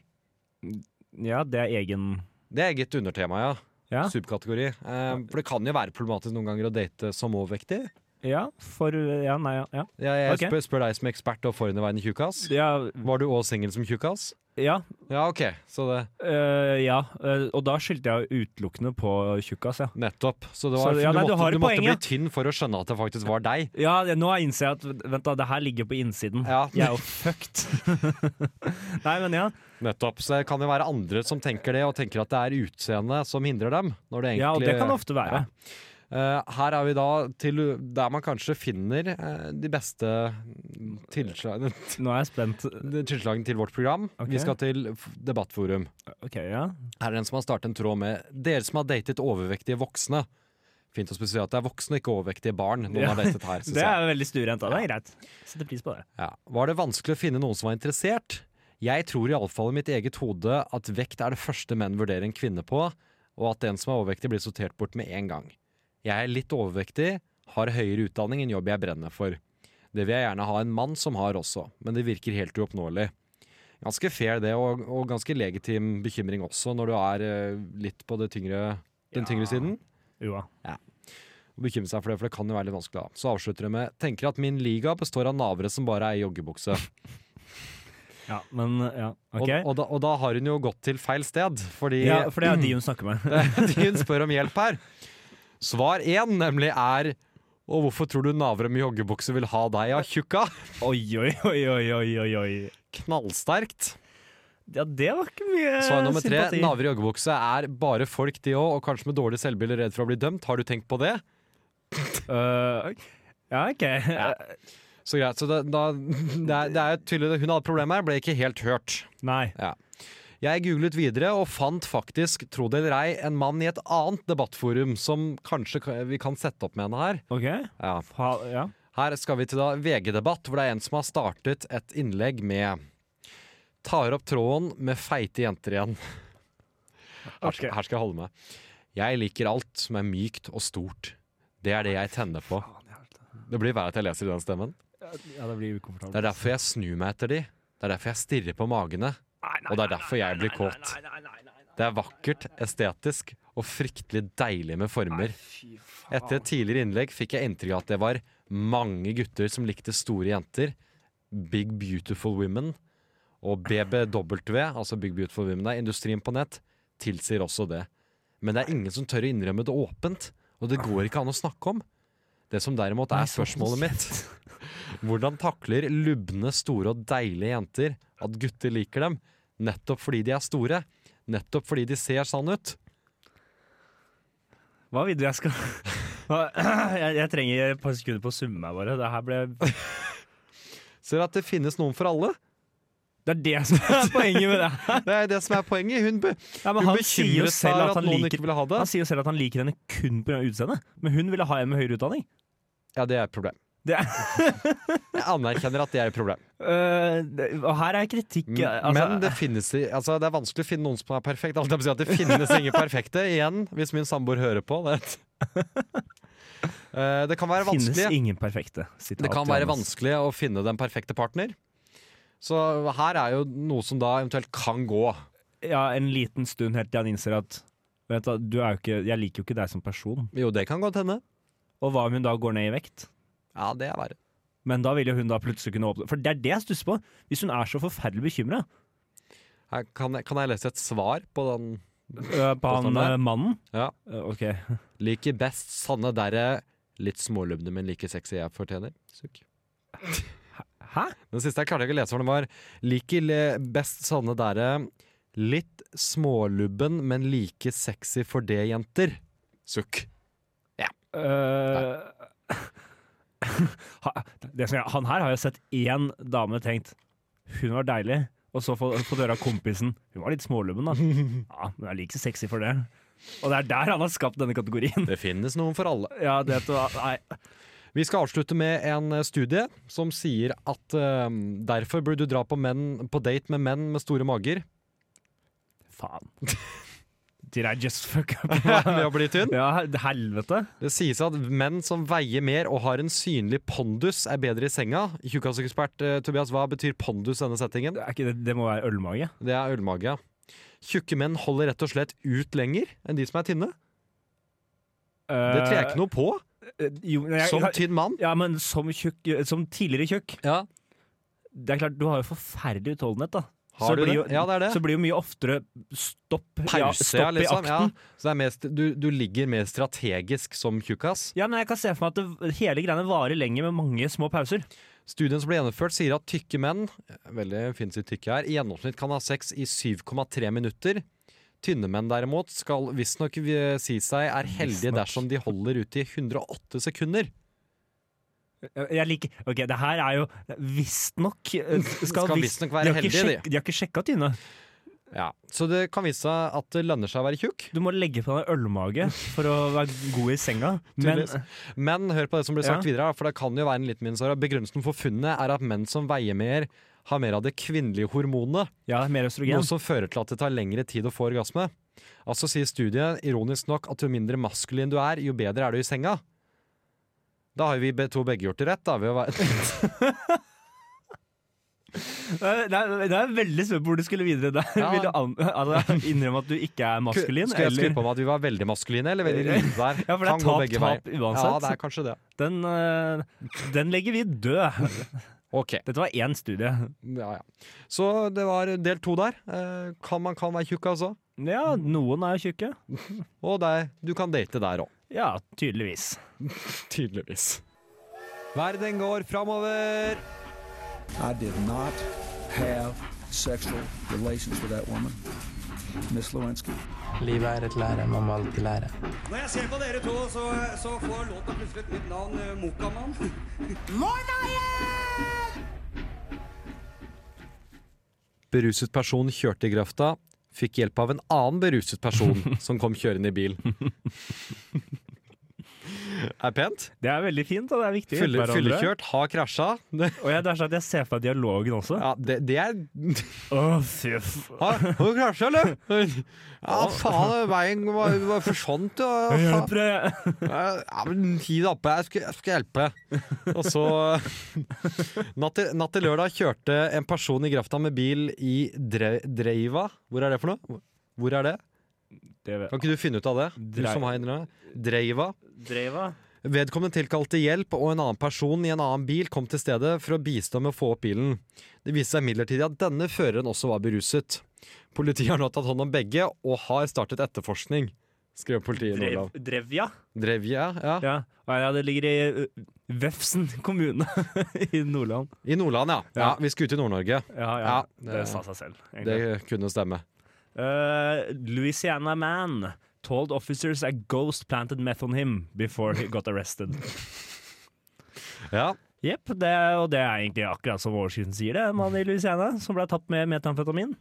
S5: Ja, det er egen
S4: Det er eget undertema, ja.
S5: Ja,
S4: Subkategori. Eh, for det kan jo være problematisk noen ganger å date som overvektig.
S5: ja for Ja, nei, ja. Ja,
S4: Jeg, jeg
S5: Ok.
S4: spør, spør deg som ekspert og forhenværende tjukkas.
S5: ja.
S4: Var du òg singel som tjukkas?
S5: ja,
S4: Ja, OK. Så det
S5: øh, ja. øh, og da skyldte jeg jo utelukkende på tjukkas, ja.
S4: Nettopp. Så det var,
S5: Så, ja,
S4: du
S5: nei, du
S4: måtte,
S5: har
S4: du
S5: et
S4: måtte
S5: poeng, ja.
S4: bli tynn for å skjønne at det faktisk var deg.
S5: Ja, det- nå innser jeg at Vent, da, det her ligger på innsiden.
S4: Ja.
S5: Jeg er jo fucked. nei, men ja.
S4: Nettopp. Så det kan jo være andre som tenker det, og tenker at det er utseendet som hindrer dem. Når det egentlig,
S5: ja. Og det kan ofte være.
S4: Eh, her er vi da til der man kanskje finner eh, de beste tilslagene,
S5: Nå er jeg spent.
S4: tilslagene til vårt program.
S5: Ok.
S4: Vi skal til f- Debattforum.
S5: OK, ja.
S4: Her er det en som har startet en tråd med Dere som har datet overvektige voksne Fint å spesifisere at det er voksne, ikke overvektige barn Noen
S5: Ja.
S4: har datet her, synes
S5: Det
S4: jeg
S5: er veldig stuerent. da. Det er greit. Setter pris på det.
S4: ja. Var det vanskelig å finne noen som var interessert? Jeg tror i alle fall i mitt eget hode At vekt er det første menn vurderer en kvinne på Og at en som er overvektig blir sortert bort med en gang Jeg er litt overvektig Har høyere utdanning enn jobb jeg brenner for Det vil jeg gjerne ha en mann som har også Men det virker helt uoppnåelig Ganske fair det, og, og ganske legitim bekymring også Når du er eh, litt på det tyngre, den tyngre siden
S5: Ua.
S4: å bekymre seg for det, for det kan jo være litt vanskelig. da. Så avslutter det med tenker at min liga består av navere som bare er i joggebukse.
S5: Ja, men ja, OK.
S4: Og, og, da, og da har hun jo gått til feil sted, fordi
S5: ja, for det er de hun snakker med.
S4: de hun spør om hjelp her. Svar én nemlig er og hvorfor tror du navere med joggebukse vil ha deg, ja, tjukka?
S5: Oi, oi, oi, oi, oi, oi, oi.
S4: Knallsterkt.
S5: Ja, det var ikke mye
S4: Svar nummer tre.
S5: Eh, sympati.
S4: Navere i joggebukse er bare folk, de òg, og kanskje med dårlig selvbilde redd for å bli dømt. Har du tenkt på det?
S5: Øh, ja, OK. Eh,
S4: Så greit. Så det, da, det er, det er jo tydelig hun hadde problemer her, ble ikke helt hørt.
S5: Nei.
S4: Jeg googlet videre og fant faktisk, tro det eller ei, en mann i et annet debattforum som kanskje ka- vi kan sette opp med henne her.
S5: OK.
S4: Ja.
S5: Ha, ja.
S4: Her skal vi til da VG-debatt, hvor det er en som har startet et innlegg med Tar opp tråden med feite jenter igjen. Her skal,
S5: Ok.
S4: her skal jeg holde meg. Jeg liker alt som er mykt og stort. Det er det jeg tenner på. Det blir verre at jeg leser i den stemmen.
S5: ja, det blir
S4: Det
S5: ukomfortabelt.
S4: er derfor jeg snur meg etter de. Det er derfor jeg stirrer på magene. Og det er derfor jeg blir kåt. Det er vakkert, estetisk og fryktelig deilig med former. Etter et tidligere innlegg fikk jeg inntrykk av at det var mange gutter som likte store jenter. Big Beautiful Women og BBW, altså Big Beautiful Women, er industrien på nett, tilsier også det. Men det er ingen som tør å innrømme det åpent, og det går ikke an å snakke om. Det som derimot er spørsmålet mitt Hvordan takler lubne, store og deilige jenter at gutter liker dem, nettopp fordi de er store? Nettopp fordi de ser sånn ut.
S5: Hva videre jeg skal Hva- jeg, jeg trenger et par sekunder på å summe meg, bare. Det her ble
S4: Ser at det finnes noen for alle.
S5: Det er det som er poenget med det.
S4: Det er det som er poenget. Hun, be
S5: Ja, men
S4: hun
S5: han sier jo
S4: bekymret seg
S5: selv
S4: at,
S5: at han
S4: noen
S5: liker
S4: ikke ville ha det.
S5: Han sier jo selv at han liker henne kun pga. utseendet, men hun ville ha en med høyere utdanning.
S4: Ja, det er et problem.
S5: Det er,
S4: Jeg anerkjenner at det er et problem.
S5: Øh, det- og her er kritikk
S4: M-
S5: altså,
S4: Men det finnes i- altså, det er vanskelig å finne noen som er perfekt. Alt jeg vil si at det finnes ingen perfekte. Igjen, hvis min samboer hører på. Det, Eh, det kan være
S5: finnes
S4: vanskelig.
S5: ingen perfekte. sitat
S4: Det kan
S5: til
S4: være
S5: Johannes.
S4: vanskelig å finne den perfekte partner. Så her er jo noe som da eventuelt kan gå.
S5: Ja, en liten stund helt til han innser at Vet du, du er jo ikke, Jeg liker jo ikke deg som person.
S4: Jo, det kan godt hende.
S5: Og hva om hun da går ned i vekt?
S4: Ja, det er verre.
S5: Men da vil jo hun da plutselig kunne åpne For det er det jeg stusser på. Hvis hun er så forferdelig bekymra
S4: Her Kan, jeg- kan jeg lese et svar på den?
S5: på han
S4: Påstanden der.
S5: øh, mannen
S4: Ja.
S5: Øh, OK.
S4: Liker best sanne derre litt smålubne, men like sexy jeg fortjener. Sukk.
S5: Hæ?
S4: Den siste jeg klarte jeg ikke å lese for den var Liker le- best sanne derre litt smålubben, men like sexy for det, jenter. Sukk.
S5: Øh, ha- det som jeg, han her har jo sett én dame tenkt Hun var deilig. Og så få få døra av kompisen. Hun var litt smålubben, da. Ja, men jeg er like sexy for det. Og det er der han har skapt denne kategorien.
S4: Det finnes noen for alle.
S5: Ja, det var, nei.
S4: Vi skal avslutte med en eh, studie som sier at eh, derfor burde du dra på, menn, på date med menn med store mager
S5: Faen. Did I just fuck up?
S4: ved å bli tynn.
S5: Ja, helvete.
S4: Det sies at menn som veier mer og har en synlig pondus, er bedre i senga. Tjukkasekspert eh, Tobias, hva betyr pondus i denne settingen?
S5: Det, er ikke, det, det må være ølmage.
S4: Det er ølmage, ja. Tjukke menn holder rett og slett ut lenger enn de som er tynne. Det tror jeg ikke
S5: Eh,
S4: noe på,
S5: noe
S4: som tynn mann.
S5: Ja, men som, tjukk, som tidligere tjukk
S4: Ja.
S5: Det er klart, du har jo forferdelig utholdenhet, da.
S4: Har du
S5: blir
S4: det?
S5: Jo,
S4: Ja, det er det.
S5: Så blir jo mye oftere stopp, ja,
S4: Pause,
S5: stopp
S4: ja, liksom.
S5: i
S4: Ja.
S5: akten.
S4: Så det er mest, du, du ligger mer strategisk som tjukkas.
S5: Ja. men Jeg kan se for meg at det, hele greiene varer lenger med mange små pauser.
S4: Studien som ble gjennomført, sier at tykke menn veldig fint sitt tykke her, i gjennomsnitt kan ha sex i 7,3 minutter. Tynne menn derimot skal visstnok eh, si seg er heldige
S5: Visstnok.
S4: dersom de holder ut i 108 sekunder.
S5: Jeg liker, ok, Det her er jo visstnok eh,
S4: Skal
S5: visst-
S4: visstnok være
S5: de har ikke
S4: heldige, de.
S5: sjekk- De har ikke sjekka tynne.
S4: Ja. Så det kan vise seg at det lønner seg å være tjukk.
S5: Du må legge på deg ølmage for å være god i senga. Men
S4: Tydeligvis. Men hør på det som blir sagt videre, da, for det kan jo være en liten minus her. Begrunnelsen for funnet er at menn som veier mer, har mer av det kvinnelige hormonet,
S5: ja, mer østrogen.
S4: noe som fører til at det tar lengre tid å få orgasme. Altså sier studiet, ironisk nok, at jo mindre maskulin du er, jo bedre er du i senga. Da har vi be- to begge gjort det rett, da, ved å være
S5: Nei, nei, Jeg er veldig spent på hvor du skulle videre der.
S4: Ja.
S5: Vil du an altså, innrømme at du ikke er maskulin?
S4: Skulle jeg
S5: eller?
S4: skrive på meg at vi var veldig maskuline, eller veldig lite der?
S5: Ja, for det er
S4: Kan gå
S5: tap,
S4: begge
S5: tap
S4: veier.
S5: uansett.
S4: Ja, det er kanskje det.
S5: Den, eh, den legger vi død.
S4: Ok.
S5: Dette var én studie.
S4: Ja, ja. Så det var del to der. Eh, Kan man kan være tjukk, altså?
S5: Ja, noen er jo tjukke.
S4: Og deg, du kan date der òg.
S5: Ja, tydeligvis.
S4: Tydeligvis. Verden går framover.
S8: I did not have sexual relations with that woman, Miss Lewinsky.
S9: Livet er et lære, man må alltid lære.
S10: Når jeg ser på dere to, så, så får låta plutselig et nytt navn. eh, Mokkamann.
S4: Beruset person kjørte i grøfta. Fikk hjelp av en annen beruset person som kom kjørende i bil. Er pent.
S5: Det er veldig fint, og det er viktig. å hjelpe
S4: Fylle-
S5: hverandre.
S4: Fyllekjørt, har krasja. Det-
S5: Og jeg, det er sånn at jeg ser for meg dialogen også.
S4: Ja, det, det er
S5: Åh, fy f-
S4: Har har du krasja, eller? Ja, faen, veien var, var forsvant, ja.
S5: Jeg
S4: faen.
S5: hjelper deg.
S4: Ja, men gi deg oppe, jeg skal, jeg skal hjelpe. Og så natt til, natt til lørdag kjørte en person i grøfta med bil i Dre, Dreiva. Hvor er det for noe? Hvor er det?
S5: Det vet-
S4: Kan ikke du finne ut av det? Du
S5: Drei-
S4: som har en Dreiva.
S3: Dreiva.
S4: Vedkommende tilkalte hjelp, og en annen person i en annen bil kom til stedet for å bistå med å få opp bilen. Det viste seg imidlertid at denne føreren også var beruset. Politiet har nå tatt hånd om begge, og har startet etterforskning, skrev politiet i
S3: Drev,
S4: Nordland.
S3: drevja.
S4: Drevja, ja.
S5: Ja. Nei, ja, det ligger i ø, Vefsn kommune i Nordland.
S4: I Nordland, ja. ja.
S5: Ja.
S4: Vi skulle ut i Nord-Norge.
S5: Ja, ja.
S4: Ja,
S5: det,
S4: det-
S5: sa seg selv. egentlig.
S4: Det kunne stemme.
S5: Uh, Louisiana man told officers a ghost planted meth on him before he got arrested.
S4: Ja,
S5: Jepp, det, og det er egentlig akkurat som overskriften sier det. En mann i Louisiana som ble tatt med metamfetamin.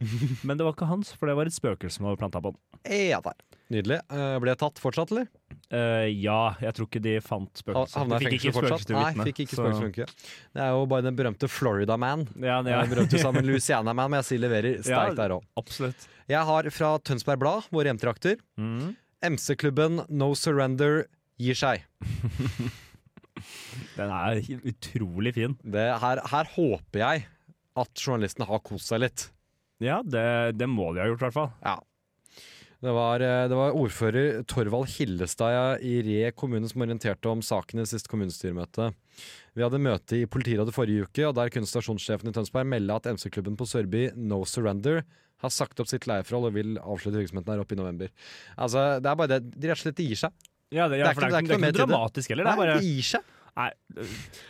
S5: Men det var ikke hans, for det var et spøkelse som hadde planta på han.
S4: ja der. Nydelig. Eh, ble jeg tatt fortsatt, eller?
S5: Eh, ja, jeg tror ikke de fant
S4: Ha-
S5: spøkelset.
S4: Havna i
S5: De fikk
S4: fengsel
S5: ikke
S4: fortsatt?
S5: spøkelset til vitne.
S4: Nei, fikk ikke
S5: så-
S4: spøkelsesfunke. Det er jo bare den berømte Florida Man.
S5: Ja, det
S4: Den
S5: er,
S4: berømte sammen Louisiana Man, men jeg sier leverer sterkt der òg.
S5: absolutt.
S4: Jeg har fra Tønsberg Blad, våre hjemtrakter,
S5: Mm.
S4: MC-klubben No Surrender gir seg.
S5: Den er utrolig fin.
S4: Det her, her håper jeg at journalistene har kost seg litt.
S5: Ja, det, det må de ha gjort, i hvert fall.
S4: Det var, eh, det var ordfører Torvald Hillestad i Re kommune som orienterte om sakene i siste kommunestyremøte. Vi hadde møte i politirådet forrige uke, og der kunne stasjonssjefen i Tønsberg melde at MC-klubben på Sørby, No Surrender, har sagt opp sitt leieforhold og vil avslutte virksomheten her oppe i november. Altså, det er bare det. De rett og slett de gir seg.
S5: Ja, det,
S4: Det
S5: ja,
S4: er ikke-
S5: for det er ikke, det er ikke
S4: mer til det.
S5: noe dramatisk heller. Det
S4: Nei,
S5: er bare
S4: de gir seg.
S5: Nei,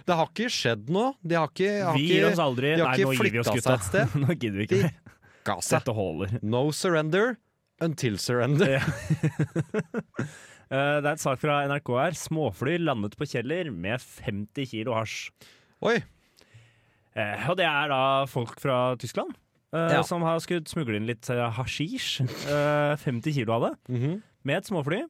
S4: Det har ikke skjedd noe. De har ikke, har
S5: vi gir oss
S4: ikke
S5: aldri.
S4: de har
S5: Nei,
S4: ikke
S5: nå gir vi oss,
S4: flyttet
S5: gutta.
S4: seg et sted.
S5: nå gidder vi ikke.
S4: De
S5: mer.
S4: ga seg.
S5: Dette holder.
S4: No Surrender until surrender.
S5: Eh, det er et sak fra NRK her. Småfly landet på Kjeller med 50 kilo hasj.
S4: Oi.
S5: Eh, og det er da folk fra Tyskland eh,
S4: Ja.
S5: som har skutt smugle inn litt eh, hasjisj. Eh, 50 kilo av det,
S4: Mhm.
S5: med et småfly.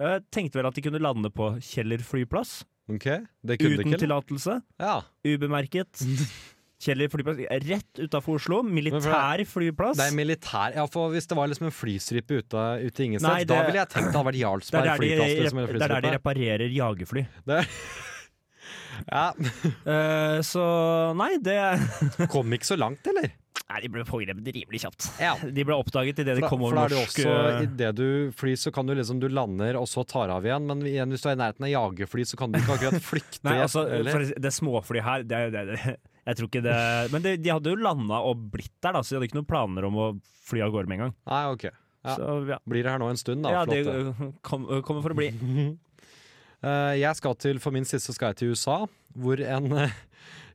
S5: Eh, tenkte vel at de kunne lande på Kjeller flyplass
S4: Ok, det kunne de
S5: uten
S4: ikke. eller?
S5: tillatelse.
S4: Ja.
S5: Ubemerket. Kjeller flyplass er rett utafor Oslo. Militær flyplass.
S4: Det er militær Ja, for hvis det var liksom en flystripe ute, ute i ingensteds,
S5: Nei,
S4: da
S5: det-
S4: ville jeg tenkt det hadde vært
S5: Det er
S4: Jarlsberg
S5: der de,
S4: flyplass. liksom, eller
S5: det er der de
S4: flystripe.
S5: reparerer jagerfly.
S4: ja.
S5: Eh, så nei, det
S4: Kom ikke så langt, eller?
S5: Nei, de ble pågrepet rimelig kjapt.
S4: Ja.
S5: De ble oppdaget idet de
S4: For da,
S5: kom
S4: for
S5: over
S4: da er det
S5: norsk
S4: også,
S5: eh,
S4: idet du flyr, så kan du liksom Du lander, og så tar av igjen. Men igjen, hvis du er i nærheten av jagerfly, så kan du ikke akkurat flykte.
S5: Nei, altså,
S4: eller?
S5: for det småflyet her det, er- det, det, Jeg tror ikke det Men de, de hadde jo landa og blitt der, da, så de hadde ikke noen planer om å fly av gårde med en gang.
S4: Nei, ok. Ja.
S5: Så ja,
S4: Blir det her nå en stund, da.
S5: ja det
S4: flott, det.
S5: eh, kom, eh, kommer for å bli.
S4: Eh, jeg skal til, For min siste skal jeg til USA, hvor en eh,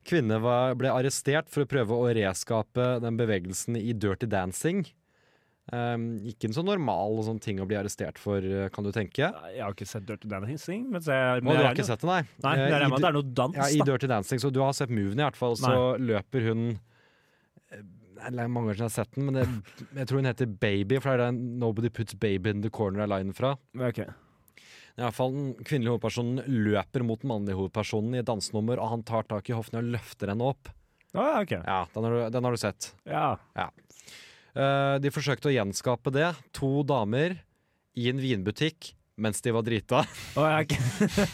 S4: kvinne var, ble arrestert for å prøve å reskape den bevegelsen i Dirty Dancing. Eh, ikke en så normal og sånn ting å bli arrestert for, eh, kan du tenke.
S5: Nei, Jeg har ikke sett Dirty Dancing. Men jeg,
S4: Og
S5: men
S4: du har
S5: jeg regner-
S4: ikke sett det, nei?
S5: Nei, men
S4: Eh,
S5: jeg
S4: i
S5: regner med at
S4: di-
S5: det er noe dans,
S4: ja, I
S5: da.
S4: Dirty Dancing, så du har sett moven i hvert fall, så løper hun eh, det er mange år siden jeg har sett den, men det, jeg tror hun heter Baby, for det er den 'Nobody Puts Baby in the Corner' er linen fra.
S5: Ok.
S4: I hvert fall Den kvinnelige hovedpersonen løper mot den mannlige hovedpersonen i et dansenummer, og han tar tak i hoften og løfter henne opp.
S5: Ah, ja, ok.
S4: Ja, Den har du, den har du sett.
S5: Ja.
S4: Eh, de forsøkte å gjenskape det. To damer i en vinbutikk mens de var drita.
S5: Å, ja, ok.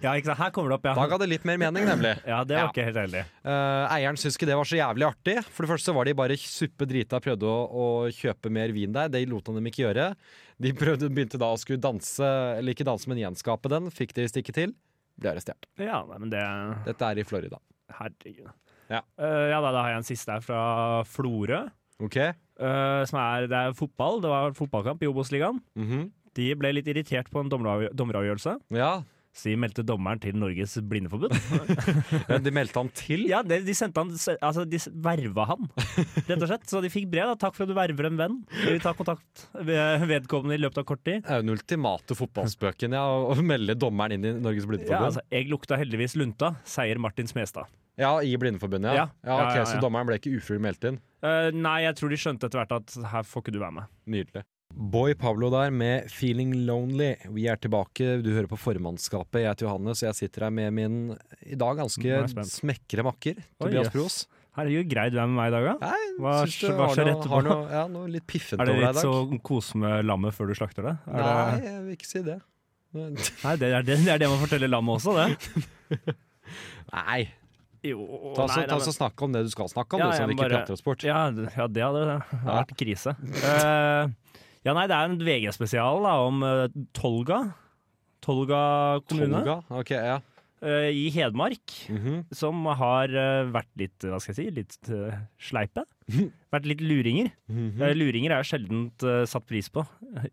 S5: ja, ikke sant. Her kommer det opp,
S4: Da
S5: ja.
S4: ga det litt mer mening, nemlig.
S5: Ja, det
S4: Ja.
S5: var ikke helt heldig.
S4: Eh, eieren syntes ikke det var så jævlig artig. For det første så var de bare suppe drita og prøvde å, å kjøpe mer vin der. Det lot han dem ikke gjøre. De prøvde, begynte da å skulle danse, eller ikke danse, men gjenskape den. Fikk de visst ikke til. Ble arrestert.
S5: Ja, nei, men det
S4: Dette er i Florida.
S5: Herregud.
S4: Ja.
S5: Eh, ja da, da har jeg en siste her fra Florø.
S4: Ok?
S5: eh, som er, det er fotball. Det var fotballkamp i Obos-ligaen.
S4: Mhm.
S5: De ble litt irritert på en dommeravgjø- dommeravgjørelse.
S4: Ja.
S5: Så de meldte dommeren til Norges blindeforbund.
S4: Men de meldte han til.
S5: Ja, det, de sendte han Altså, de s- verva han, rett og slett. Så de fikk brev. da 'Takk for at du verver en venn. Vi vil ta kontakt med vedkommende i løpet av kort tid'.
S4: Det er jo den ultimate fotballspøken, ja. Å melde dommeren inn i Norges
S5: Ja,
S4: Blindeforbund.
S5: altså, jeg lukta heldigvis lunta, sier Martin Smestad.
S4: Ja, i Blindeforbundet, ja.
S5: Ja.
S4: ja. ok,
S5: Ja, ja,
S4: Så
S5: ja.
S4: dommeren ble ikke ufrivillig meldt inn.
S5: Eh, nei, jeg tror de skjønte etter hvert at her får ikke du være med.
S4: Nydelig. Boy Pablo der med 'Feeling Lonely'. Vi er tilbake, du hører på formannskapet. Jeg heter Johannes, og jeg sitter her med min i dag
S5: Nå er jeg
S4: ganske
S5: spent.
S4: smekre makker, Tobias
S5: jøs.
S4: Pros.
S5: Herregud, grei du er med meg i dag, da.
S4: Nei,
S5: Hva-
S4: syns du
S5: hva
S4: har
S5: så
S4: noe,
S5: rett
S4: har
S5: på?
S4: noe, ja, noe litt piffent
S5: Er
S4: over
S5: det
S4: deg i
S5: litt
S4: dag?
S5: så kose med lammet før du slakter det? Er
S4: Nei,
S5: det
S4: jeg vil ikke si det. Men-
S5: nei det, er det, det er det man forteller lammet også, det.
S4: Nei,
S5: Jo,
S4: ta så, ta så snakk om det du skal snakke om,
S5: Ja,
S4: du, så
S5: jeg
S4: vi ikke
S5: bare-
S4: prater oss bort.
S5: Ja, d- ja det hadde vært krise. Eh, ja, nei, det er en VG-spesial da, om eh, Tolga. Tolga kommune
S4: Tolga? Ok, ja.
S5: eh, i Hedmark,
S4: Mhm.
S5: som har eh, vært litt, hva skal jeg si, litt eh, sleipe. Vært litt luringer.
S4: Mhm.
S5: Eh, luringer er sjelden satt pris på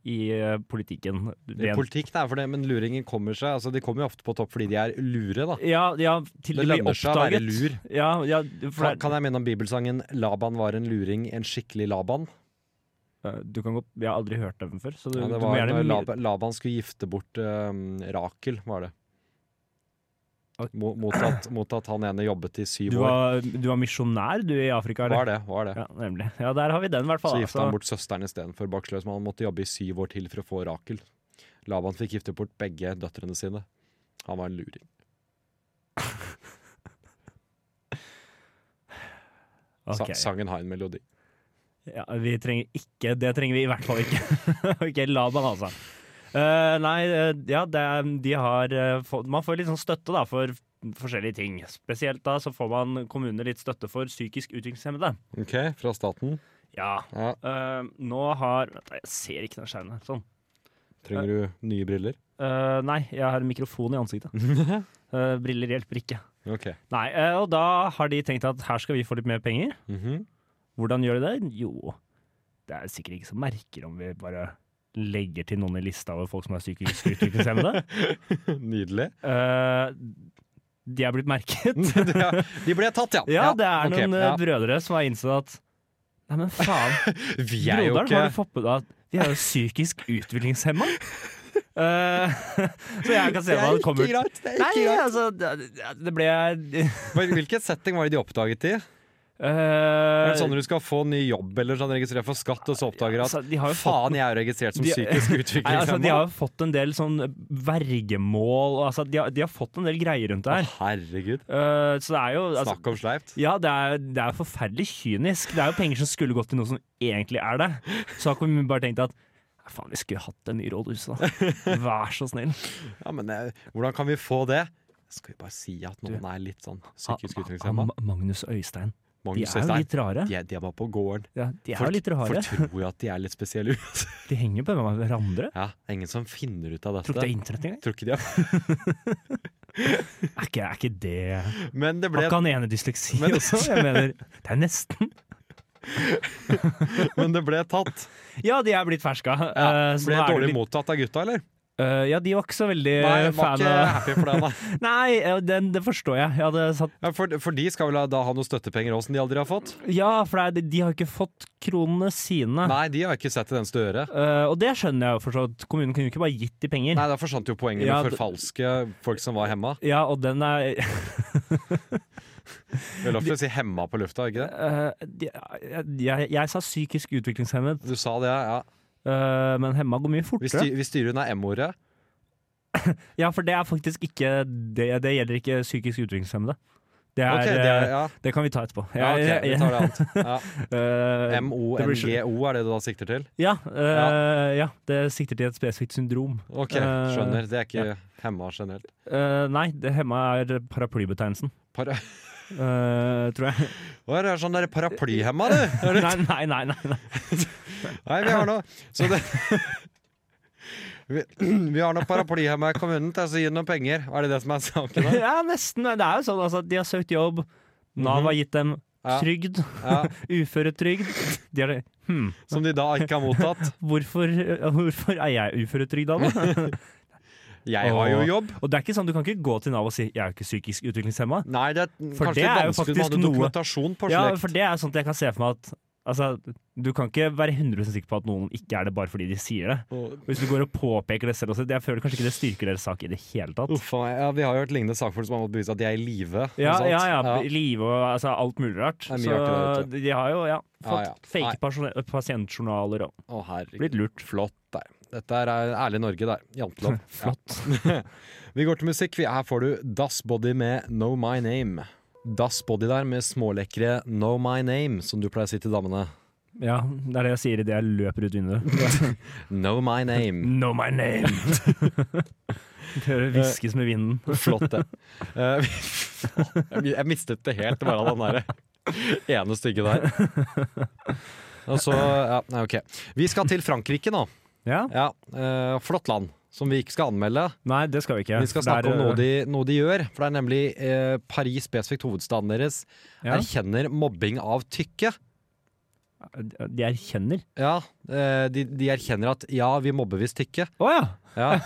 S5: i eh, politikken.
S4: Det er
S5: Rent-
S4: Politikk det er for det, men luringer kommer seg. Altså, de kommer jo ofte på topp fordi de er lure, da.
S5: ja, ja, til
S4: Det
S5: de blir
S4: lønner seg å være
S5: oppdaget.
S4: lur.
S5: Ja, ja, for
S4: Kan,
S5: det
S4: kan jeg minne om bibelsangen 'Laban var en luring, en skikkelig Laban'?
S5: er- eh, du kan gå, jeg har aldri hørt den før, så du,
S4: Ja, det
S5: du må
S4: var
S5: gjerne
S4: når Laban, Laban skulle gifte bort um, Rakel, var det.
S5: Ok.
S4: Mo- Mot at, mot at han ene jobbet i syv
S5: Du
S4: år.
S5: var, du var misjonær du i Afrika, eller?
S4: Var det, var det.
S5: Ja, nemlig. Ja, der har vi den i hvert fall.
S4: Så
S5: altså. da.
S4: gifta han bort søsteren istedenfor baksløs, men han måtte jobbe i syv år til for å få Rakel. Laban fikk gifte bort begge døtrene sine. Han var en luring. Sa-
S5: Ok.
S4: Sangen har en melodi.
S5: Ja, vi trenger ikke, det trenger vi i hvert fall ikke. ok, Laban altså. Eh, nei, eh, ja, det, er- de har eh, fått, Man får litt sånn støtte da, for forskjellige ting. Spesielt da så får man kommunene litt støtte for psykisk utviklingshemmede.
S4: Ok, Fra staten.
S5: Ja.
S4: Ja,
S5: eh, nå har Vent, Jeg ser ikke den skjermen her. Sånn.
S4: Trenger du nye briller?
S5: Eh, nei, jeg har en mikrofon i ansiktet. Eh, briller hjelper ikke.
S4: Ok.
S5: Nei, eh, og da har de tenkt at her skal vi få litt mer penger.
S4: Mhm.
S5: Hvordan gjør de det? Jo, det er sikkert ikke som merker om vi bare legger til noen i lista over folk som er psykisk utviklingshemmede.
S4: Nydelig.
S5: Eh, de er blitt merket.
S4: De ble tatt, ja.
S5: Ja, det er
S4: ok,
S5: noen eh,
S4: ja.
S5: brødre som har innsett at Nei, men faen,
S4: Vi er jo
S5: eh, broderen
S4: ikke
S5: har jo fått på deg at vi er jo psykisk utviklingshemma. Eh, så jeg kan se hva det kommer
S4: greit. Det
S5: Nei, altså, det, det ble eh,
S4: Men Hvilken setting var det de oppdaget i? Er det sånn når du skal få ny jobb eller sånn registrert for skatt, og så oppdager du at
S5: altså, de har jo fått
S4: faen, jeg er jo registrert som
S5: De-
S4: psykisk
S5: Nei, altså, de
S4: utviklingshemma?
S5: har jo fått en del sånn vergemål og, altså, de, har, de har fått en del greier rundt det her.
S4: Herregud.
S5: Eh, så det er jo altså,
S4: Snakk om sleipt.
S5: Ja, det er, det er forferdelig kynisk. Det er jo penger som skulle gått til noe som egentlig er det. Så har kommunen bare tenkt at "Nei, faen, vi skulle hatt dem i rådhuset, da. Vær så snill.
S4: Ja, men eh, hvordan kan vi få det? Skal vi bare si at noen er litt sånn psykisk utviklingshemma?
S5: Ma- Ah, Magnus og Øystein. De
S4: Magnus
S5: er jo
S4: Øystein.
S5: litt rare.
S4: De er, de er bare på gården.
S5: Ja, de er jo
S4: Folk-
S5: litt rare.
S4: Folk tror jo at de er litt spesielle. ut.
S5: De henger på hverandre.
S4: Ja, det er ingen som finner ut av
S5: Tror ikke det
S4: dette.
S5: er internett engang.
S4: Tror ikke de har.
S5: Er ikke, er ikke det
S4: Men det
S5: Har
S4: ble
S5: ikke han ene dysleksi
S4: Men-
S5: også? Jeg mener, det er nesten.
S4: Men det ble tatt.
S5: Ja, de er blitt ferska.
S4: Ja,
S5: Eh, så
S4: ble
S5: nå er det
S4: dårlig
S5: litt-
S4: mottatt av gutta, eller?
S5: Eh, ja, de var ikke så veldig
S4: Nei, var
S5: fan
S4: ikke
S5: av
S4: happy for det. da.
S5: Nei, eh, den, det forstår jeg. Jeg hadde satt
S4: Ja, for, for de skal vel ha- da ha noen støttepenger òg, som de aldri har fått?
S5: Ja, for det er, de har ikke fått kronene sine.
S4: Nei, de har ikke sett det eneste øre.
S5: Eh, og det skjønner jeg jo for så vidt. Kommunen kunne jo ikke bare gitt de penger.
S4: Nei, da forsvant jo poenget
S5: Ja,
S4: med
S5: d-
S4: forfalske folk som var hemma.
S5: Ja, og den er
S4: Det er lov til å si 'hemma' på lufta, ikke det?
S5: eh, de, jeg, jeg sa psykisk utviklingshemmet,
S4: Du sa det, ja.
S5: eh, men hemma går mye
S4: Vi,
S5: fortere.
S4: styr, vi styrer unna M-ordet.
S5: Ja, for det er faktisk ikke Det, det gjelder ikke psykisk utviklingshemmede. Det, er,
S4: Ok, det er- ja.
S5: eh, det kan vi ta etterpå.
S4: Ja, ok,
S5: Jeg-
S4: vi tar det annet. Ja.
S5: Eh, det blir skjønt.
S4: MONGO er det du da sikter til?
S5: Ja, eh, ja, det sikter til et spesifikt syndrom.
S4: Ok,
S5: Eh,
S4: skjønner. Det er ikke hemma generelt.
S5: eh, nei, det hemma er paraplybetegnelsen,
S4: Para
S5: eh, tror jeg.
S4: Hva er det sånn der paraplyhemma, du?
S5: nei, nei, nei, nei, nei.
S4: Nei, vi har nå Så det Vi, vi har nå paraplyhemma i kommunen til å gi noen penger. Er det det som er saken? her?
S5: Ja, nesten. Det er jo sånn altså, at de har søkt jobb, Nav har gitt dem
S4: Ja.
S5: trygd,
S4: Ja,
S5: uføretrygd. De har det. Hm,
S4: som de da ikke har mottatt.
S5: hvorfor, eh, hvorfor er jeg uføretrygd da? da?
S4: Jeg har jo jobb.
S5: Og det er ikke sånn, du kan ikke gå til Nav og si 'jeg er jo ikke psykisk utviklingshemma'.
S4: Nei, det er
S5: For
S4: kanskje
S5: det er
S4: vanskelig
S5: jo
S4: å ha
S5: faktisk noe-
S4: dokumentasjon på
S5: Ja,
S4: slekt.
S5: for det er sånt jeg kan se for meg at altså, Du kan ikke være 100 sikker på at noen ikke er det bare fordi de sier det.
S4: Åh.
S5: Hvis du går og påpeker det selv også, jeg føler kanskje ikke det styrker deres sak i det hele tatt.
S4: Uff a meg. Ja, vi har jo et lignende sakfolk som har måttet bevise at de er i live.
S5: Ja,
S4: og sånt.
S5: ja, ja, Live og altså, alt mulig rart.
S4: Det er mye
S5: Så
S4: rart i det,
S5: de de har jo ja,
S4: Ja,
S5: fått
S4: ja. Nei.
S5: fake pasjon- pasientjournaler og
S4: Å, herregud.
S5: blitt lurt.
S4: Flott. Der. Dette er eh, ærlig Norge, der. Jantelov.
S5: Flott.
S4: Vi går til musikk. Vi- Her får du Das Body med No My Name. Das Body der med smålekre No My Name, som du pleier å si til damene.
S5: Ja, det er det jeg sier idet jeg løper ut vinduet.
S4: No My Name.
S5: Know my name! Det
S4: Eh,
S5: hører hviskes med vinden.
S4: Flott, det. Eh, vi- Jeg mistet det helt, bare av den der ene stygge der. Og så Ja, nei, OK. Vi skal til Frankrike nå.
S5: Ja?
S4: Ja, eh, Flott land, som vi ikke skal anmelde.
S5: Nei, det skal vi ikke.
S4: Vi skal
S5: Det er,
S4: snakke om noe
S5: øh,
S4: de, noe de gjør, for det er nemlig eh, Paris, spesifikt hovedstaden deres,
S5: ja.
S4: erkjenner mobbing av tykke.
S5: De erkjenner.
S4: Ja, eh, de, de erkjenner at ja, vi mobber visst tykke.
S5: Å ja!
S4: Ja,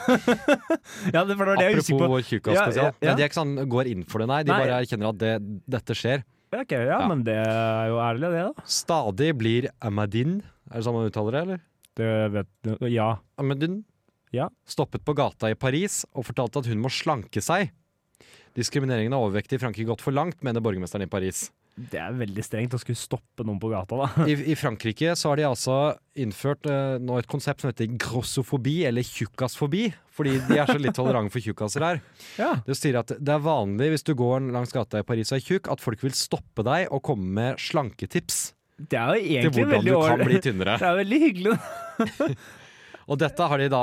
S5: ja! Det var det jeg var
S4: apropos
S5: usikker på.
S4: vår
S5: Ja,
S4: tjukkaspesial.
S5: ja, ja.
S4: Men de er ikke sånn går inn for det, nei. De
S5: Nei.
S4: bare erkjenner at det, dette skjer.
S5: Ja, ok, ja,
S4: Ja.
S5: men det er jo ærlig, det, da.
S4: Stadig blir Amadin Er det sånn man uttaler det, eller?
S5: Det vet Ja.
S4: Amadin
S5: Ja.
S4: stoppet på gata i Paris og fortalte at hun må slanke seg. Diskrimineringen av overvektige i Frankrike gått for langt, mener borgermesteren i Paris.
S5: Det er veldig strengt å skulle stoppe noen på gata, da.
S4: I, I Frankrike så har de altså innført eh, nå et konsept som heter grossofobi, eller tjukkasfobi, fordi de er så litt tolerante for tjukkaser her.
S5: Ja.
S4: Det sier at det er vanlig hvis du går langs gata i Paris og er tjukk, at folk vil stoppe deg og komme med slanketips
S5: Det er jo
S4: til
S5: egentlig
S4: hvordan
S5: veldig
S4: du kan
S5: ålreit.
S4: bli tynnere.
S5: Det er veldig hyggelig.
S4: Og dette har de da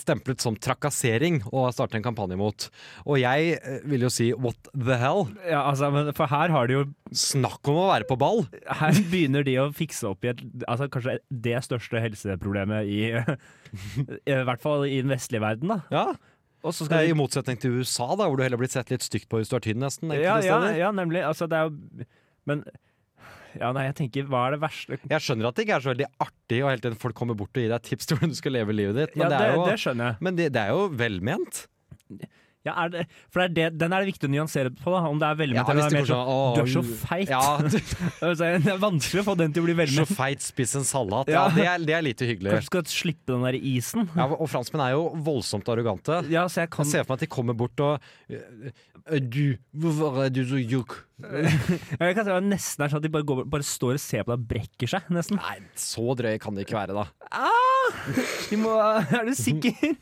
S4: stemplet som trakassering og har startet en kampanje mot. Og jeg eh, vil jo si what the hell?
S5: Ja, altså, men for her har de jo
S4: Snakk om å være på ball!
S5: Her begynner de å fikse opp i et, altså, kanskje det største helseproblemet i I hvert fall i den vestlige verden, da.
S4: Ja,
S5: Og så
S4: det er
S5: skal
S4: I
S5: de
S4: motsetning til USA, da, hvor du heller blir sett litt stygt på hvis du er tynn, nesten.
S5: ja,
S4: enkelte
S5: ja,
S4: steder.
S5: ja, nemlig. Altså, det er jo Men Ja, nei, jeg tenker, hva er det verste
S4: Jeg skjønner at det ikke er så veldig artig og hele tiden folk kommer bort og gir deg tips til hvordan du skal leve livet ditt, men,
S5: Ja,
S4: det,
S5: det,
S4: er jo,
S5: det skjønner jeg.
S4: men det, det er jo velment.
S5: Ja, er det, for det er det, den er det viktig å nyansere på, da. Om det er velment
S4: Ja,
S5: eller
S4: hvis det
S5: det er mer
S4: går sånn,
S5: sånn Du er så
S4: «Åh,
S5: feit!
S4: Ja, du
S5: Altså, Det er vanskelig å få den til å bli
S4: er så
S5: velment.
S4: feit, spiss en salat. Ja,
S5: Ja.
S4: det er, det er lite hyggelig.
S5: Kanskje skal slippe den der isen.
S4: Ja, og franskmenn er jo voldsomt arrogante.
S5: Ja, så jeg
S4: Jeg
S5: kan
S4: ser for meg at de kommer bort og «Øh, øh, Du, hvorfor er du så tjukk?
S5: Jeg kan se at det nesten er sånn at de bare, går, bare står og ser på deg og brekker seg, nesten.
S4: Nei, så drøy kan det ikke være, da.
S5: De må, er du sikker?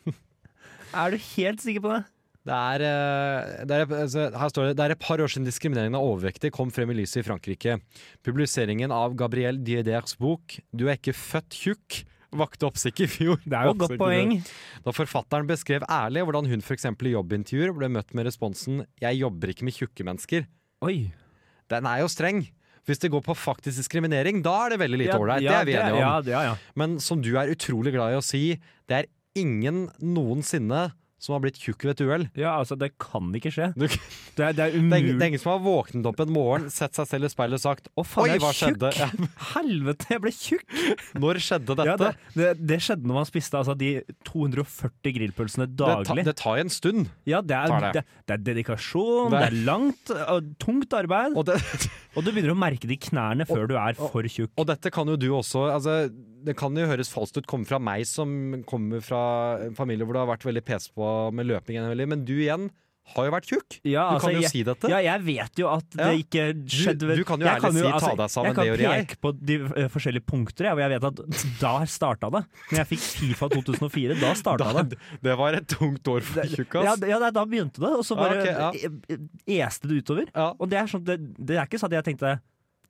S5: Er du helt sikker på det?
S4: Det er, eh, det, er, altså, her står det, det er et par år siden diskrimineringen av overvektige kom frem i lyset i Frankrike. Publiseringen av Gabrielle Dieders bok 'Du er ikke født tjukk' vakte oppsikt i fjor.
S5: Det er jo et godt poeng.
S4: Da forfatteren beskrev ærlig hvordan hun f.eks. i jobbintervjuer ble møtt med responsen 'Jeg jobber ikke med tjukke mennesker'.
S5: Oi.
S4: Den er jo streng. Hvis det går på faktisk diskriminering, da er det veldig lite
S5: Ja,
S4: ålreit.
S5: ja,
S4: det er vi enige om.
S5: Ja, det, ja, ja.
S4: Men som du er utrolig glad i å si, det er ingen noensinne som har blitt tjukk ved et uhell.
S5: ja, altså, det kan ikke skje.
S4: Du-
S5: Det er, det er
S4: Det er, ingen, det er
S5: umulig.
S4: ingen som har våknet opp en morgen, sett seg selv i speilet og sagt
S5: Å, faen,
S4: Oi,
S5: jeg
S4: hva
S5: er tjukk!
S4: skjedde? Ja.
S5: Helvete, jeg ble tjukk!
S4: 'Når skjedde dette?'
S5: Ja, det,
S4: det,
S5: det, det skjedde når man spiste altså, de 240 grillpølsene
S4: ta,
S5: daglig.
S4: det tar jo en stund.
S5: Ja, det er,
S4: tar
S5: det,
S4: det.
S5: det er dedikasjon,
S4: Det
S5: det
S4: er-
S5: er langt og tungt arbeid.
S4: Og, det,
S5: Og du begynner å merke det i knærne før du er for tjukk.
S4: og dette kan jo du også altså, Det kan jo høres falskt ut komme fra meg, som kommer fra en familie hvor det har vært veldig pes på med løping, en veldig, men du igjen har jo vært tjukk.
S5: Ja,
S4: Du
S5: altså,
S4: kan jo
S5: jeg,
S4: si dette.
S5: Ja, jeg vet jo at det
S4: Ja.
S5: ikke skjedde
S4: du kan jo
S5: Jeg altså,
S4: ærlig si, ta deg sammen, det gjør jeg.
S5: Jeg kan peke på de eh, forskjellige punkter, jeg, og jeg vet at da starta det. Når jeg fikk Fifa 2004, da starta
S4: Da,
S5: det.
S4: det var et tungt år for tjukkas.
S5: Ja, d- ja, nei, da begynte det, og så bare
S4: Ja,
S5: eh, eh, este det utover.
S4: Ja.
S5: Og det er, sånn, det, det er ikke sånn at jeg tenkte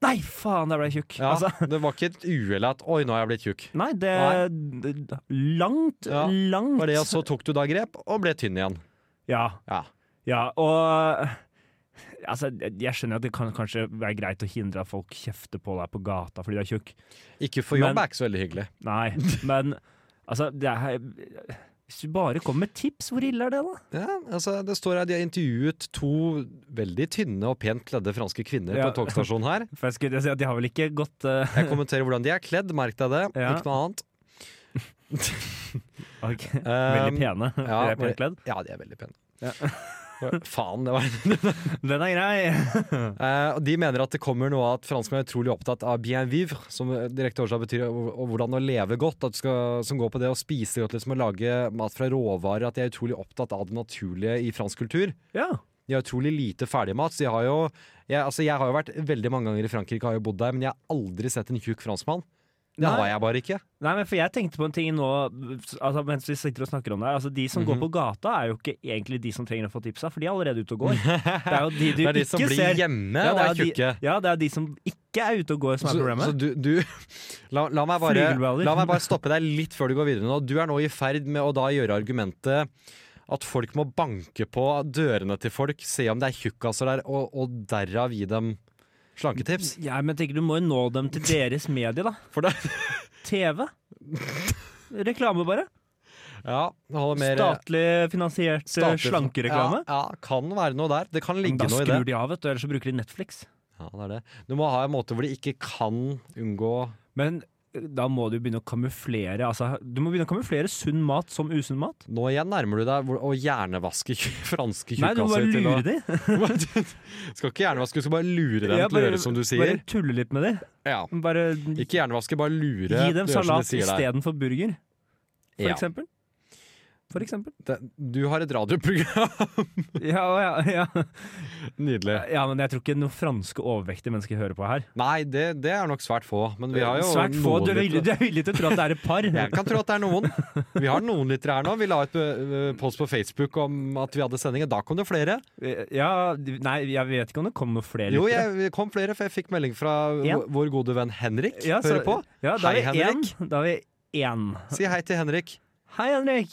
S5: Nei, faen, jeg ble tjukk!
S4: Ja,
S5: Altså,
S4: det var ikke et uhell at 'oi, nå har jeg blitt tjukk'.
S5: nei, det d- Langt,
S4: Ja,
S5: langt
S4: Var det, og så tok du da grep og ble tynn igjen.
S5: Ja.
S4: Ja.
S5: Ja, og Altså, jeg skjønner at det kan kanskje være greit å hindre at folk kjefter på deg på gata fordi du er tjukk.
S4: Ikke for jobb
S5: Men-
S4: er ikke så veldig hyggelig.
S5: Nei, men altså det er, Hvis du bare kommer med tips, hvor ille er det, da?
S4: Ja, altså, det står her De har intervjuet to veldig tynne og pent kledde franske kvinner
S5: Ja.
S4: på en togstasjon her.
S5: For jeg skulle si at De har vel ikke gått eh,
S4: Jeg kommenterer hvordan de er kledd, merk deg det.
S5: Ja.
S4: Ikke noe annet.
S5: ok, veldig pene.
S4: Um, ja,
S5: er pent kledd.
S4: Ja, de er veldig pene.
S5: Ja.
S4: Faen, det var
S5: Den er grei!
S4: Eh, og De mener at det kommer noe av at franskmenn er utrolig opptatt av bien vivre, som eh, direkte årsak betyr å- å- hvordan å leve godt, at du skal, som går på det å spise godt, liksom å lage mat fra råvarer, at de er utrolig opptatt av det naturlige i fransk kultur.
S5: Ja.
S4: De har utrolig lite ferdigmat, så de har jo jeg, altså jeg har jo vært veldig mange ganger i Frankrike, har jo bodd der, men jeg har aldri sett en tjukk franskmann. Det
S5: Nei.
S4: har jeg bare ikke.
S5: Nei, men for Jeg tenkte på en ting nå altså, mens vi sitter og snakker om det her. Altså, de som går
S4: Mhm.
S5: på gata, er jo ikke egentlig de som trenger å få tips av, for de er allerede ute og går. Det er jo de du
S4: Det er de
S5: ikke
S4: som blir
S5: ser.
S4: hjemme
S5: Ja,
S4: og
S5: det
S4: er
S5: er jo
S4: tjukke.
S5: De, ja, det er de som ikke er ute og går, som er
S4: Så,
S5: problemet.
S4: så du, du la, la, meg bare,
S5: Flygelballer.
S4: la meg bare stoppe deg litt før du går videre nå. Du er nå i ferd med å da gjøre argumentet at folk må banke på dørene til folk, se om det er tjukkaser der, og, og derav gi dem slanketips.
S5: ja, men jeg tenker Du må jo nå dem til deres medie, da.
S4: For det,
S5: TV. Reklame, bare.
S4: ja, det holder mer eh,
S5: Statlig finansiert eh,
S4: statlig-
S5: slankereklame.
S4: Ja, ja, kan være noe der. Det kan
S5: Men
S4: ligge
S5: da
S4: noe i det.
S5: skrur de av, vet du, ellers så bruker de Netflix.
S4: Ja, det, er det. Du må ha en måte hvor de ikke kan unngå
S5: Men eh, da må du begynne å kamuflere altså, Du må begynne å kamuflere sunn mat som usunn mat.
S4: Nå igjen nærmer du deg hvor- å hjernevaske tju- franske
S5: Nei, du må bare
S4: tjukkaser. til å-
S5: lure de.
S4: skal ikke hjernevaske, du skal bare lure dem
S5: Ja,
S4: til å gjøre som du sier.
S5: Bare tulle litt med de.
S4: Ja.
S5: Bare
S4: Ikke hjernevaske, bare lure.
S5: gi
S4: det
S5: dem
S4: gjør som
S5: salat
S4: de sier der.
S5: istedenfor burger, for
S4: Ja.
S5: eksempel. For eksempel.
S4: Det- Du har et radioprogram.
S5: Ja, ja, ja.
S4: Nydelig.
S5: ja, men jeg tror ikke noen franske overvektige mennesker hører på her.
S4: Nei, det, det er nok svært få. Men vi har jo
S5: Svært få.
S4: noen
S5: Du er, villig,
S4: lyttere.
S5: du er villig til å tro at det er et par.
S4: Jeg kan tro at det er noen. Vi har noen lyttere her nå. Vi la ut eh, post på Facebook om at vi hadde sending, og da kom det flere.
S5: Ja, nei, jeg vet ikke om det kom noen flere.
S4: Jo,
S5: lyttere.
S4: jeg det kom flere, for jeg fikk melding fra
S5: Ja.
S4: vår- vår gode venn Henrik.
S5: Ja, så-
S4: Hører på.
S5: Ja, da
S4: Hei,
S5: er vi
S4: Henrik.
S5: en. Da er vi én.
S4: Si hei til Henrik.
S5: Hei, Henrik.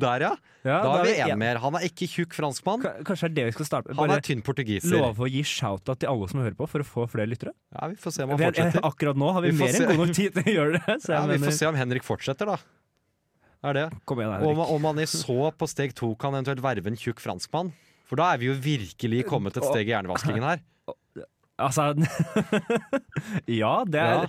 S4: Der, ja.
S5: Ja,
S4: Da har vi
S5: en.
S4: én mer. Han er ikke tjukk franskmann.
S5: Ka- Kanskje det er det vi skal starte med.
S4: Han er
S5: Bare
S4: tynn portugiser.
S5: love å gi shout-out til alle som hører på, for å få flere lyttere.
S4: Ja, vi får se om han
S5: Vi er- eh,
S4: fortsetter.
S5: Akkurat nå har vi,
S4: Vi får
S5: mer
S4: se.
S5: enn god nok tid til å gjøre det. Så jeg
S4: Ja, vi
S5: mener,
S4: får se om Henrik fortsetter, da. Er det?
S5: Kom igjen,
S4: Om,
S5: Henrik.
S4: om han i så på steg to kan eventuelt verve en tjukk franskmann. For da er vi jo virkelig kommet et steg i hjernevaskingen her.
S5: Altså Ja, det er
S4: Ja.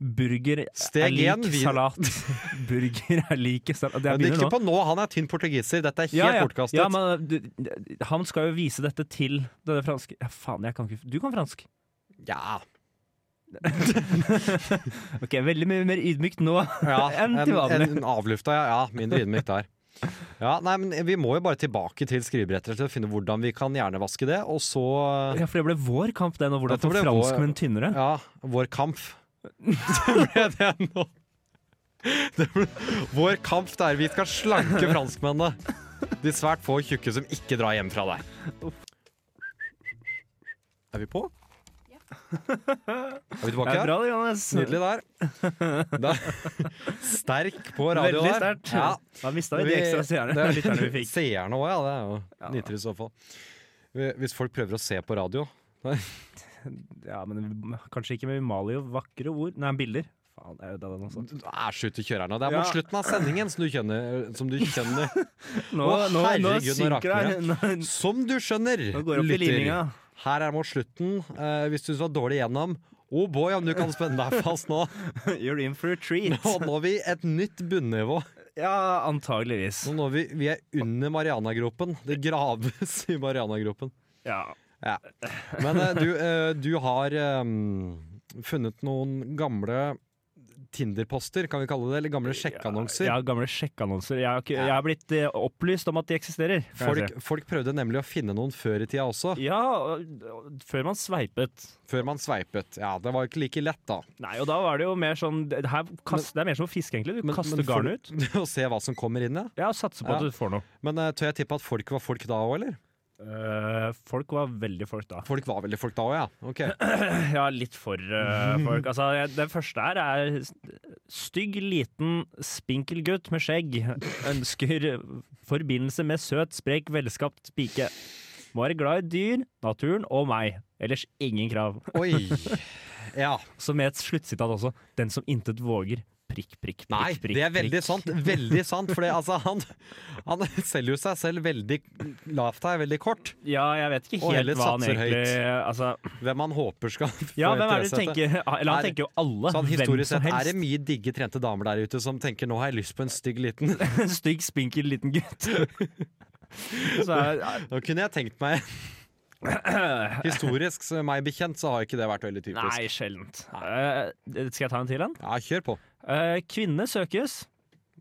S5: Burger er
S4: Steg én,
S5: lik
S4: vi-
S5: salat. Burger er lik
S4: Men
S5: salat. Det jeg
S4: det er
S5: begynner
S4: ikke
S5: nå.
S4: på nå, han er tynn portugiser. Dette er helt
S5: Ja, ja.
S4: bortkastet.
S5: ja, men du, han skal jo vise dette til denne franske Ja, faen, jeg kan ikke Du kan fransk.
S4: ja.
S5: Ok, Veldig mye mer ydmykt nå.
S4: ja en,
S5: Enn til vanlig.
S4: en avlufta, ja. ja mindre ydmyk der. Ja, nei, men Vi må jo bare tilbake til skrivebrettet til å finne hvordan vi kan hjernevaske det. Og så
S5: Ja, For det ble vår kamp, den, og hvordan
S4: Dette
S5: få
S4: ble vår-
S5: franskmenn tynnere.
S4: Ja, vår kamp. Det ble det nå. Det ble, vår kamp der vi skal slanke franskmennene. De svært få tjukke som ikke drar hjem fra deg. Er vi på? Er vi tilbake?
S5: det er
S4: her?
S5: bra, det, Johannes.
S4: Nydelig der. der. Sterk på radio
S5: Veldig
S4: der.
S5: sterkt.
S4: Ja.
S5: Da mista vi de ekstra seerne
S4: det er-
S5: lytterne vi fikk.
S4: Seerne òg, ja. Det er jo
S5: Ja.
S4: nitrist i så fall. Hvis folk prøver å se på radio
S5: Ja, men vi- Kanskje ikke, men vi maler jo vakre ord. Nei, bilder. Faen, det er jo det den også.
S4: Du er slutt å kjøre her nå. Det er
S5: Ja.
S4: mot slutten av sendingen som du kjenner. Som du, kjenner.
S5: Nå,
S4: Å,
S5: nå, nå
S4: herregud, nå
S5: synker det her.
S4: rakner
S5: Nå,
S4: Som du skjønner,
S5: nå går det opp i
S4: lytter.
S5: lininga.
S4: Her er det mot slutten. Eh, hvis du var dårlig gjennom, oh boy, om du kan spenne deg fast nå.
S5: You're in for a treat.
S4: Nå når vi et nytt bunnivå.
S5: Ja, antageligvis.
S4: Nå når vi, vi er under Marianagropen. Det graves i Marianagropen.
S5: Ja.
S4: Ja. Men eh, du, eh, du har eh, funnet noen ehm, gamle Tinder-poster, kan vi kalle det? Eller gamle sjekkeannonser.
S5: Ja, gamle sjekkeannonser. Jeg, har ikke- jeg har blitt eh, opplyst om at de eksisterer. kan jeg
S4: Folk,
S5: si.
S4: folk prøvde nemlig å finne noen før i tida også,
S5: Ja, og- og før man sveipet.
S4: før man sveipet. Ja, det var ikke like lett, da.
S5: Nei, og da var det jo mer sånn Det, her kast, det er mer som å fiske, egentlig. Du kaster garnet ut.
S4: Å se hva som kommer inn, ja.
S5: Ja, og satser på
S4: Ja.
S5: at du får noe.
S4: Men eh, tør jeg tippe at folk var folk da òg, eller?
S5: Eh, folk var veldig folk da.
S4: Folk var veldig folk da òg, ja. Ok.
S5: Ja, litt for eh, folk. Altså, jeg, den første her er stygg, liten, spinkel gutt med skjegg. Ønsker forbindelse med søt, sprek, velskapt pike. Må være glad i dyr, naturen og meg. Ellers ingen krav.
S4: Oi. Ja.
S5: Så med et sluttsitat også. Den som intet våger. Prikk, prikk, prikk.
S4: Nei,
S5: prikk,
S4: det er veldig
S5: prikk.
S4: sant. Veldig sant. For altså, han, han selger jo seg selv veldig lavt her, veldig kort.
S5: Ja, jeg vet ikke
S4: Og
S5: helt
S4: heller
S5: hva han
S4: satser høyt.
S5: egentlig altså,
S4: Hvem han håper skal få
S5: Ja, hvem er det du
S4: interesse etter.
S5: tenker Eller han
S4: Er-
S5: tenker jo alle.
S4: Sånn
S5: hvem
S4: historisk
S5: som
S4: sett er det
S5: helst.
S4: mye digge trente damer der ute som tenker 'nå har jeg lyst på en stygg liten'.
S5: En stygg, spinkel liten gutt. Så er,
S4: Nå kunne jeg tenkt meg Historisk, så meg bekjent, så har ikke det vært veldig typisk.
S5: Nei, sjeldent. Eh, skal jeg ta en til en?
S4: Ja, kjør på.
S5: Eh, kvinne søkes.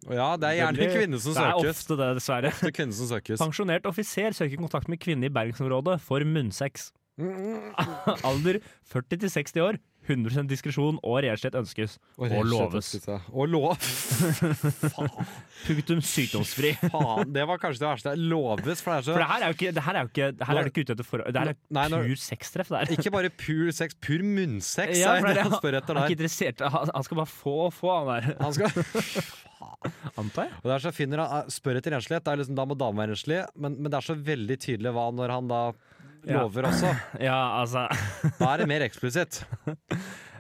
S4: Og Ja, det er gjerne
S5: Veldig-
S4: kvinner som
S5: Det er
S4: søkes.
S5: ofte det, dessverre.
S4: Ofte kvinner som søkes.
S5: Pensjonert offiser søker kontakt med kvinne i bergensområdet for munnsex.
S4: Mm.
S5: Alder 40 til 60 år. 100 diskresjon og redslighet ønskes. Og
S4: rett og slett
S5: loves.
S4: ønsket seg. Og lov.
S5: Punktum sykdomsfri.
S4: Faen, det var kanskje det verste. Loves, for det er så
S5: For det her er jo ikke Det her er jo ikke, det her er du ikke ute etter forhold. Det her
S4: Nei,
S5: er
S4: når-
S5: pur sextreff. det her.
S4: Ikke bare pur sex, pur munnsex
S5: Ja,
S4: er
S5: for det er
S4: det
S5: det
S4: han spør etter
S5: Han er ikke
S4: der.
S5: interessert. Han han skal bare få og få, han der.
S4: Han skal, og
S5: Antar jeg.
S4: det er så finner han eh, Spør etter renslighet. Det er liksom, da må damen være renslig, men, men det er så veldig tydelig hva når han da
S5: Ja.
S4: lover også.
S5: Ja, altså.
S4: Da er det mer eksplisitt.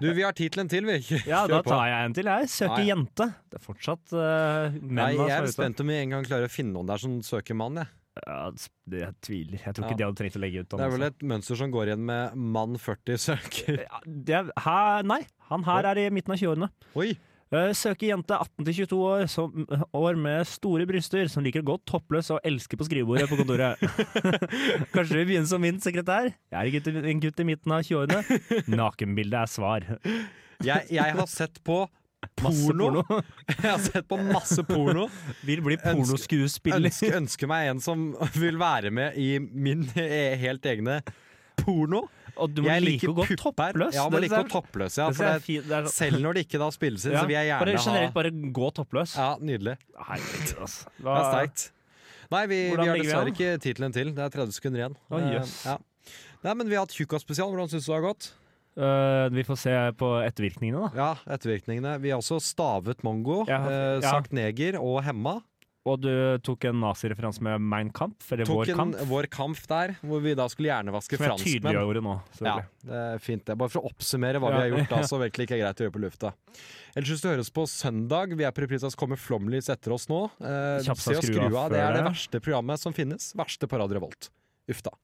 S4: Du, vi har tid til en til, vi. Kjør
S5: Ja, da
S4: på.
S5: tar jeg en til. Jeg søker
S4: Nei.
S5: jente. Det er fortsatt eh, menn
S4: Nei,
S5: da,
S4: jeg
S5: som
S4: er
S5: ute.
S4: spent om vi en gang klarer å finne noen der som søker mann. Jeg.
S5: Ja, det, jeg tviler. Jeg tror
S4: Ja.
S5: ikke de hadde trengt å legge ut. han,
S4: Det er vel
S5: altså.
S4: et mønster som går igjen med mann 40 søker.
S5: Ja, det er, her, nei, han her er i midten av 20-årene.
S4: Oi!
S5: Eh, Søker jente 18-22 år, som, eh, år med store bryster, som liker å gå toppløs og elsker på skrivebordet på kontoret. Kanskje du vil begynne som min sekretær? Jeg er en gutt, i- en gutt i midten av 20-årene. Nakenbildet er svar.
S4: Jeg, jeg har sett på
S5: Masse
S4: porno.
S5: porno.
S4: Jeg har sett på masse porno.
S5: Vil bli
S4: Ønske-
S5: pornoskuespiller.
S4: Ønsker, ønsker meg en som vil være med i min eh, helt egne porno.
S5: Og du må
S4: Jeg
S5: like å gå
S4: pupper.
S5: toppløs.
S4: Ja, man
S5: Det-
S4: liker å
S5: det er-
S4: toppløs, ja.
S5: det
S4: For
S5: er
S4: det,
S5: fint, det er sånn-
S4: selv når det ikke da spilles inn, så vil jeg
S5: Ja, bare
S4: gjerne ha
S5: generelt bare gå toppløs.
S4: Ja, nydelig.
S5: Herregud, altså.
S4: Det
S5: Hva-
S4: er sterkt. Nei, vi, vi
S5: Hvordan
S4: har
S5: ligger vi
S4: dessverre
S5: an?
S4: ikke tid til en til. Det er 30 sekunder igjen.
S5: Å,
S4: Eh,
S5: jøss.
S4: ja. Nei, men vi har hatt Tjukkas-spesial. Hvordan syns du det har gått?
S5: Eh, vi får se på ettervirkningene, da.
S4: Ja, ettervirkningene. Vi har også stavet mongo,
S5: Ja,
S4: eh,
S5: ja.
S4: sagt neger og hemma.
S5: Og du tok en nazireferanse med Mein Kampf, eller
S4: Tok
S5: Vår
S4: en
S5: Kamp,
S4: vår kamp der, hvor vi da skulle hjernevaske
S5: som jeg
S4: franskmenn.
S5: tydeliggjorde nå.
S4: Ja,
S5: selvfølgelig.
S4: det er fint det. Bare for å oppsummere hva vi
S5: Ja,
S4: har gjort, da,
S5: ja.
S4: så virkelig ikke er greit å gjøre på lufta. Ellers hvis du hører oss på søndag, vi er på reprise, så kommer Flomlys etter oss nå. Eh,
S5: Kjapt
S4: se
S5: sa
S4: og
S5: skru
S4: skru
S5: av
S4: av.
S5: før
S4: Det er det
S5: det.
S4: verste programmet som finnes. Verste på Radio Revolt. Uff da.